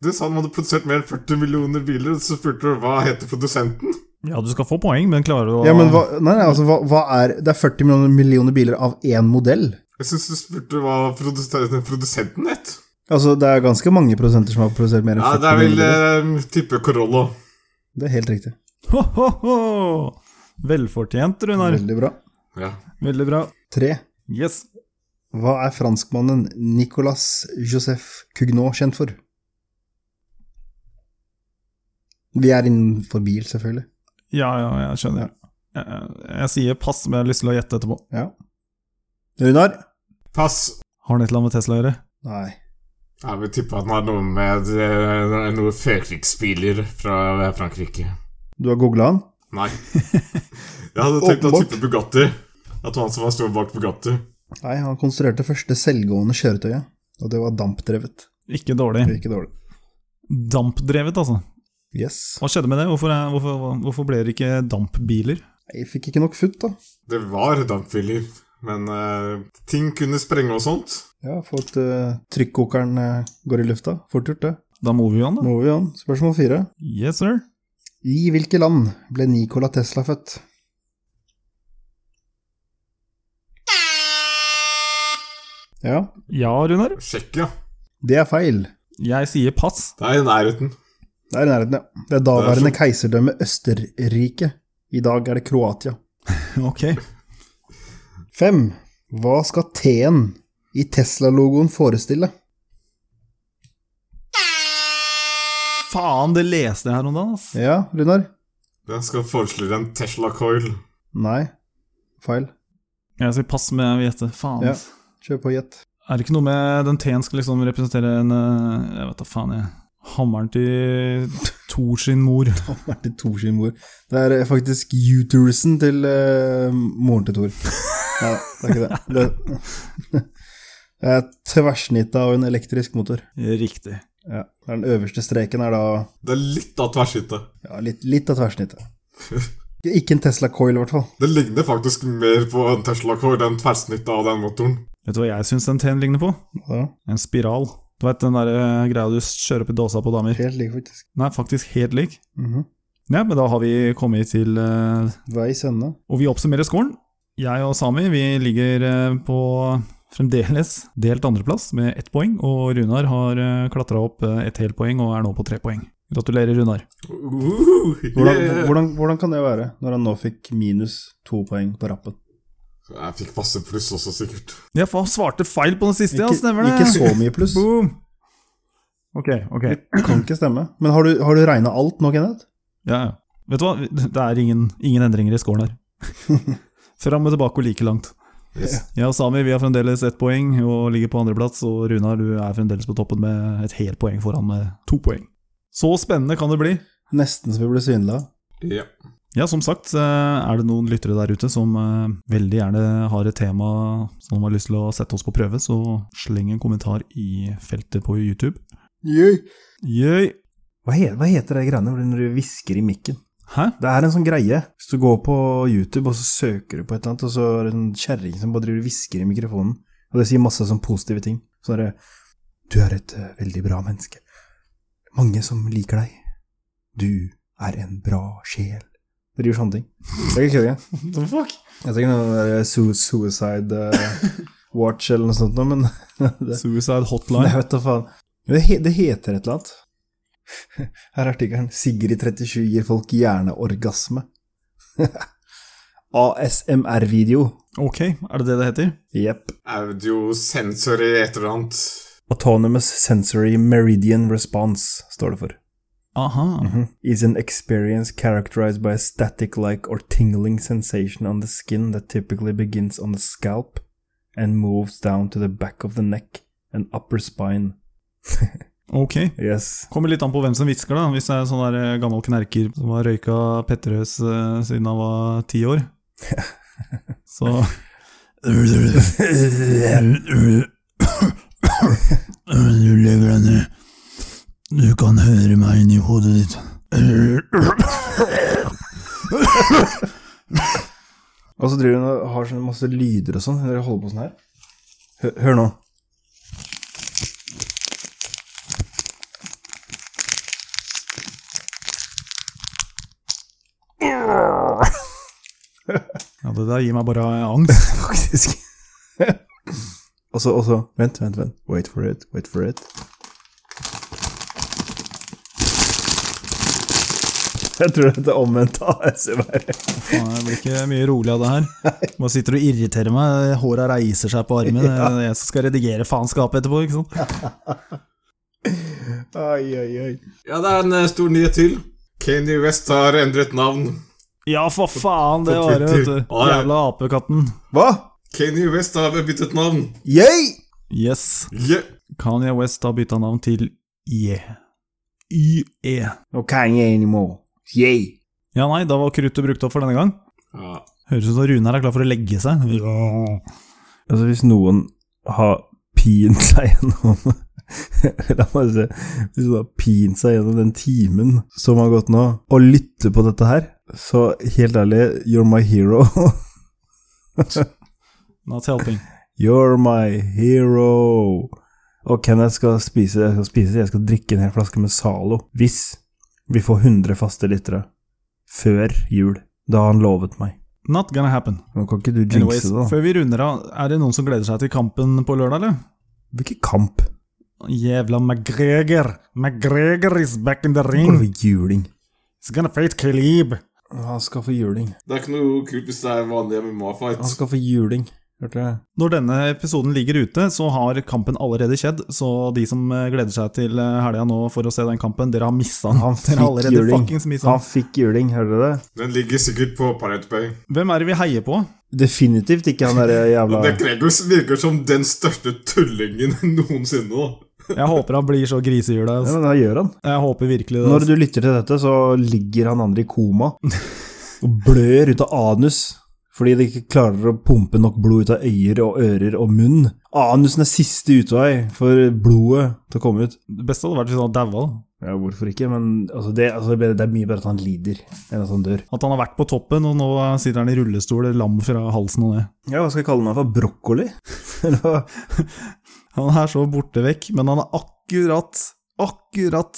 Speaker 2: Du sa de hadde produsert mer enn 40 millioner biler, så spurte du hva heter produsenten?
Speaker 1: Ja, du skal få poeng, men klarer du å
Speaker 4: Ja, men hva, nei, nei, altså, hva, hva er Det er 40 millioner, millioner biler av én modell.
Speaker 2: Jeg syns du spurte hva produsenten, produsenten het.
Speaker 4: Altså, det er ganske mange prosenter som har produsert mer enn
Speaker 2: Ja,
Speaker 4: 40
Speaker 2: det er vel
Speaker 4: millioner biler.
Speaker 2: eh, type Corolla.
Speaker 4: Det er helt riktig.
Speaker 1: Ho, ho, ho! Velfortjent, Runar.
Speaker 4: Veldig bra.
Speaker 2: Ja.
Speaker 1: Veldig bra.
Speaker 4: Tre.
Speaker 1: Yes.
Speaker 4: Hva er franskmannen Nicolas Joseph Cugnot kjent for? Vi er innenfor bil, selvfølgelig.
Speaker 1: Ja, ja, jeg skjønner. Jeg, jeg sier pass, men jeg har lyst til å gjette etterpå.
Speaker 4: Runar?
Speaker 2: Pass.
Speaker 1: Har han et eller annet med Tesla å gjøre?
Speaker 4: Nei.
Speaker 2: Jeg vil tippe at den har noe med eh, noe førkrigsbiler fra eh, Frankrike.
Speaker 4: Du har googla han?
Speaker 2: Nei. Jeg hadde tenkt å
Speaker 4: Åpenbart.
Speaker 2: tippe Bugatti. At det var han som var stor bak Bugatti.
Speaker 4: Nei, han konstruerte første selvgående kjøretøyet, og det var dampdrevet.
Speaker 1: Ikke dårlig.
Speaker 4: Det er Ikke dårlig.
Speaker 1: Dampdrevet, altså.
Speaker 4: Yes.
Speaker 1: Hva skjedde med det? Hvorfor, er- hvorfor, hvorfor ble det ikke dampbiler?
Speaker 4: Nei, Jeg fikk ikke nok futt, da.
Speaker 2: Det var dampbiler, men eh, ting kunne sprenge og sånt.
Speaker 4: Ja, for at eh, trykkokeren eh, går i lufta. Fort gjort, det.
Speaker 1: Da må vi jo an, da.
Speaker 4: Nå er vi an. Spørsmål fire.
Speaker 1: Yes, sir.
Speaker 4: I hvilke land ble Nikola Tesla født? Ja,
Speaker 1: Ja, Runar.
Speaker 2: Sjekk, ja.
Speaker 4: det er feil.
Speaker 1: Jeg sier pass.
Speaker 2: Det er i nærheten.
Speaker 4: Det er i nærheten, ja. Det er daværende keiserdømme Østerrike. I dag er det Kroatia.
Speaker 1: Ok.
Speaker 4: Fem. Hva skal T-en i Tesla-logoen forestille?
Speaker 1: Faen, det leste jeg her om dagen, ass.
Speaker 4: Ja, Runar?
Speaker 2: Den skal foreslå en Tesla Coil.
Speaker 4: Nei. Feil.
Speaker 1: Jeg sier pass, men jeg vil gjette. Faen.
Speaker 4: Ja.
Speaker 1: ass.
Speaker 4: Kjør på gjett.
Speaker 1: Er det ikke noe med den T-en skal liksom representere en eh, Jeg vet da faen, jeg. Hammeren til Thor sin mor.
Speaker 4: Martin Thor sin mor. Det er eh, faktisk uterusen til eh, moren til Thor. Nei, det er ikke det. Det, det er tverrsnittet av en elektrisk motor.
Speaker 1: Riktig.
Speaker 4: Ja. Den øverste streken er da
Speaker 2: Det er litt av tverrsnittet.
Speaker 4: ja, litt, litt av tverrsnittet. Ikke en Tesla Coil, i hvert fall.
Speaker 2: Det ligner faktisk mer på en Tesla Coil enn tverrsnittet av den motoren.
Speaker 1: Vet du hva jeg syns den T-en ligner på?
Speaker 4: Ja,
Speaker 1: En spiral. Du veit den der eh, greia du kjører opp i dåsa på damer?
Speaker 4: helt lik, faktisk.
Speaker 1: Nei, faktisk helt lik.
Speaker 4: Mhm.
Speaker 1: Ja, men da har vi kommet til eh,
Speaker 4: Veis ende.
Speaker 1: Og vi oppsummerer scoren. Jeg og Sami vi ligger eh, på fremdeles delt andreplass med ett poeng, og Runar har klatra opp eh, et helt poeng og er nå på tre poeng. Gratulerer, Runar.
Speaker 2: Uh,
Speaker 4: Hvordan,
Speaker 2: yeah.
Speaker 4: hvordan, hvordan kan det være, når han nå fikk minus to poeng på rappen?
Speaker 2: Jeg fikk masse pluss også, sikkert.
Speaker 1: Jeg fa- svarte feil på den siste, ja,
Speaker 4: Ikke,
Speaker 1: stemmer det?
Speaker 4: ikke så mye pluss.
Speaker 1: Boom! Ok, ok.
Speaker 4: Kan ikke stemme. Men har du, har du regna alt nå, Kenneth?
Speaker 1: Ja, ja. Vet du hva, det er ingen, ingen endringer i scoren her. Fram og tilbake og like langt.
Speaker 2: Yes.
Speaker 1: Jeg og Sami vi har fremdeles ett poeng og ligger på andreplass, og Runar du er fremdeles på toppen med et helt poeng foran med to poeng. Så spennende kan det bli.
Speaker 4: Nesten så vi ble svindla.
Speaker 2: Ja.
Speaker 1: Ja, som sagt, eh, er det noen lyttere der ute som eh, veldig gjerne har et tema som de har lyst til å sette oss på prøve, så sleng en kommentar i feltet på YouTube. Jøy!
Speaker 4: Hva, he, hva heter det greiene hvor når du hvisker i mikken?
Speaker 1: Hæ?
Speaker 4: Det er en sånn greie. Hvis du går på YouTube og så søker du på et eller annet, og så er det en kjerring som bare driver og hvisker i mikrofonen, og det sier masse sånn positive ting. Så er det Du er et eh, veldig bra menneske. Mange som liker deg. Du er en bra sjel. Det driver sånne ting. Det er ikke kødd engang.
Speaker 1: What the fuck?
Speaker 4: Jeg tenker noe der su Suicide eh, Watch eller noe sånt, nå, men det,
Speaker 1: Suicide
Speaker 4: Nei,
Speaker 1: Hotline.
Speaker 4: vet da faen. Det, he det heter et eller annet. Her er artikkelen. Sigrid 37 gir folk hjerneorgasme. ASMR-video.
Speaker 1: Ok, er det det det heter?
Speaker 4: Jepp.
Speaker 2: Audiosensor i et eller annet.
Speaker 4: Autonomous Sensory Meridian Response står det for.
Speaker 1: Aha.
Speaker 4: Mhm. Is an experience characterized by a static-like or tingling sensation on the skin that typically begins on the scalp and moves down to the back of the neck and upper spine.
Speaker 1: Ok.
Speaker 4: Yes.
Speaker 1: Kommer litt an på hvem som hvisker, da. Hvis det er sånn der eh, gammel knerker som har røyka Petterøes eh, siden han var ti år, så
Speaker 5: Du lever ennå. Du kan høre meg inni hodet ditt.
Speaker 4: Og så driver hun og har sånn masse lyder og sånn. Dere holder på sånn her. Hør, hør nå.
Speaker 1: Ja, det der gir meg bare angst.
Speaker 4: Faktisk. og så, og så Vent, vent, vent. Wait for it, wait for it. Jeg tror dette er omvendt ASMR.
Speaker 1: Faen, jeg blir ikke mye rolig av det her. Bare sitter og irriterer meg. Håra reiser seg på armen. Det er jeg som skal redigere faenskapet etterpå, ikke sant.
Speaker 4: Oi, oi, oi.
Speaker 2: Ja, det er en eh, stor nyhet til. Kanye West har endret navn.
Speaker 1: Ja, for faen, det var det, vet du. Jævla apekatten.
Speaker 4: Hva?
Speaker 2: Kanye West har byttet navn.
Speaker 4: Jeg?
Speaker 1: Yes.
Speaker 2: Yeah.
Speaker 1: Kanye West har bytta navn til IE. YE.
Speaker 4: No Kanye anymore. Yay.
Speaker 1: Ja, nei, da var kruttet brukt opp for denne gang.
Speaker 2: Ja.
Speaker 1: Høres ut som Runar er klar for å legge seg. Ja.
Speaker 4: Altså, hvis noen har pint seg gjennom La meg se. Hvis noen har pint seg gjennom den timen som har gått nå, og lytter på dette her, så helt ærlig, you're my hero.
Speaker 1: Not helping.
Speaker 4: You're my hero. Og Ken, jeg skal spise, jeg skal spise, jeg skal drikke en hel flaske med Zalo. Hvis vi får 100 faste lyttere før jul. Da har han lovet meg.
Speaker 1: Not gonna happen.
Speaker 4: Nå kan ikke du
Speaker 1: Anyways,
Speaker 4: jinxe det, da.
Speaker 1: før vi runder av, er det noen som gleder seg til kampen på lørdag, eller?
Speaker 4: Hvilken kamp?
Speaker 1: Jævla McGregor! McGregor is back in the
Speaker 4: Går det
Speaker 1: ring!
Speaker 4: for juling?
Speaker 1: He's gonna fight Khalib!
Speaker 4: Han skal få juling.
Speaker 2: Det er ikke noe kult hvis det er vanlig MMA-fight.
Speaker 4: Han skal få juling. Hørte jeg?
Speaker 1: Når denne episoden ligger ute, så har kampen allerede skjedd, så de som eh, gleder seg til eh, helga nå for å se den kampen, dere har missa den.
Speaker 4: Han
Speaker 1: Dere har
Speaker 4: fikk
Speaker 1: allerede
Speaker 4: juling.
Speaker 1: fuckings misset
Speaker 4: Han
Speaker 1: den.
Speaker 4: fikk juling, hører dere det?
Speaker 2: Den ligger sikkert på Pirate Bay.
Speaker 1: Hvem er det vi heier på?
Speaker 4: Definitivt ikke han derre jævla
Speaker 2: Det Gregor virker som den største tullingen noensinne. da.
Speaker 1: Jeg håper han blir så grisehjula.
Speaker 4: Ja,
Speaker 1: ass.
Speaker 4: men da gjør han.
Speaker 1: Jeg håper virkelig det.
Speaker 4: Når
Speaker 1: ass.
Speaker 4: du lytter til dette, så ligger han andre i koma og blør ut av anus fordi de ikke klarer å pumpe nok blod ut av øyer og ører og munn. Anusen er siste utvei for blodet til å komme ut.
Speaker 1: Det beste hadde vært hvis han daua. da.
Speaker 4: Ja, hvorfor ikke, men altså, det, altså, det er mye bedre at han lider enn at han dør.
Speaker 1: At han har vært på toppen, og nå sitter han i rullestol, lam fra halsen og ned.
Speaker 4: Ja, hva skal jeg kalle han for? Brokkoli? Eller hva?
Speaker 1: Han er så borte vekk, men han er akkurat, akkurat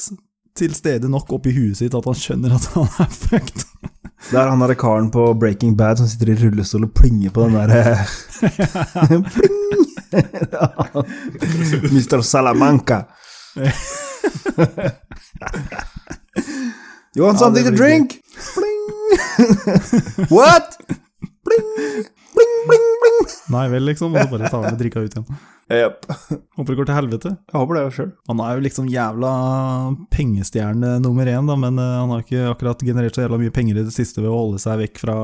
Speaker 1: til stede nok oppi huet sitt at han skjønner at han er fucked.
Speaker 4: Det er han derre karen på Breaking Bad som sitter i rullestol og plinger på den eh, derre Pling! Mr. Salamanca. You
Speaker 1: Ja,
Speaker 4: want something
Speaker 1: det
Speaker 4: to
Speaker 1: blir
Speaker 4: drink? Pling! What? Pling! Pling, pling, pling!
Speaker 1: Nei vel, liksom, og så bare tar han med drikka ut igjen.
Speaker 4: Yep.
Speaker 1: Håper det går til helvete.
Speaker 4: Jeg håper det sjøl.
Speaker 1: Han er jo liksom jævla pengestjerne nummer én, da, men eh, han har ikke akkurat generert så jævla mye penger i det siste ved å holde seg vekk fra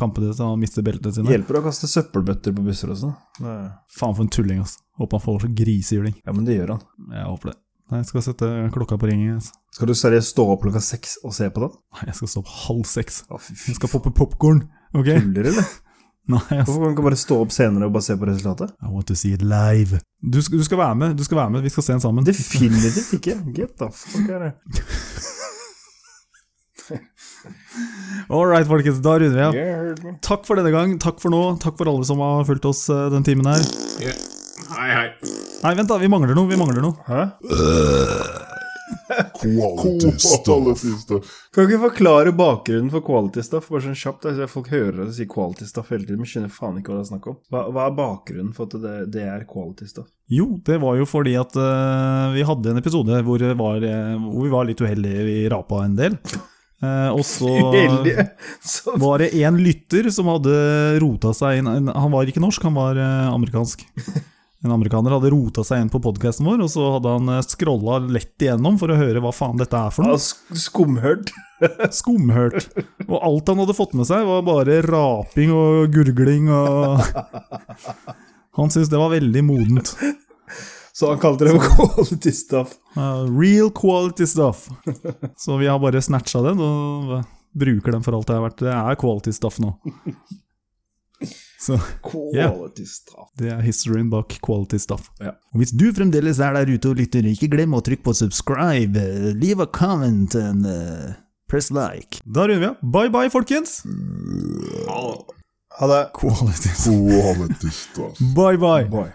Speaker 1: kampene så han mister beltene sine.
Speaker 4: Hjelper å kaste søppelbøtter på busser sånn. også. Ja,
Speaker 1: Faen for en tulling, altså. Håper han får så grisehjuling.
Speaker 4: men det gjør han.
Speaker 1: Jeg håper det. Nei, jeg skal sette klokka på ringen. Altså.
Speaker 4: Skal du seriøst stå opp klokka seks og se på den?
Speaker 1: Nei, jeg skal stå opp halv seks.
Speaker 4: Å, fy
Speaker 1: Jeg skal poppe popkorn, ok?
Speaker 4: Tuller, eller?
Speaker 1: Nei, ass.
Speaker 4: Hvorfor kan man ikke bare stå opp senere og bare se på resultatet?
Speaker 6: I want to see it live.
Speaker 1: Du skal, du skal være med, du skal være med, vi skal se den sammen.
Speaker 4: Definitivt ikke. Get the fuck out of
Speaker 1: All right, folkens, da runder vi av.
Speaker 4: here. You heard me.
Speaker 1: Takk for denne gang, takk for nå, takk for alle som har fulgt oss eh, den timen her.
Speaker 2: Ja. Hei, hei.
Speaker 1: Nei, vent da, vi mangler noe, vi mangler noe.
Speaker 4: Hæ?
Speaker 7: Quality stuff.
Speaker 4: Kan du ikke forklare bakgrunnen for quality stuff? Bare sånn kjapt, altså, Folk hører deg si quality stuff hele tiden, men skjønner faen ikke hva det er snakk om. Hva, hva er bakgrunnen for at det, det er quality stuff?
Speaker 1: Jo, det var jo fordi at eh, vi hadde en episode hvor, det var, eh, hvor vi var litt uheldige, vi rapa en del. Eh, og så
Speaker 4: Uheldige! Så
Speaker 1: var det en lytter som hadde rota seg inn en- Han var ikke norsk, han var eh, amerikansk. En amerikaner hadde rota seg inn på podkasten vår, og så hadde han scrolla lett igjennom for å høre hva faen dette er for noe.
Speaker 4: Ja, sk- skumhørt.
Speaker 1: Skumhørt. Og alt han hadde fått med seg, var bare raping og gurgling og Han syntes det var veldig modent.
Speaker 4: Så han kalte det for quality stuff.
Speaker 1: Uh, real quality stuff. Så vi har bare snatcha den og bruker den for alt det er verdt. Det er quality stuff nå. Så
Speaker 4: Quality stuff.
Speaker 1: Det er historien bak quality stuff.
Speaker 4: Ja.
Speaker 6: Og Hvis du fremdeles er der ute og lytter, ikke glem å trykke på subscribe, eh, leave a comment, and eh, press like.
Speaker 1: Da runder vi av. Bye bye, folkens!
Speaker 2: Ha det.
Speaker 4: Ha det.
Speaker 6: Quality.
Speaker 7: Quality stuff.
Speaker 1: Bye bye!
Speaker 4: Boy.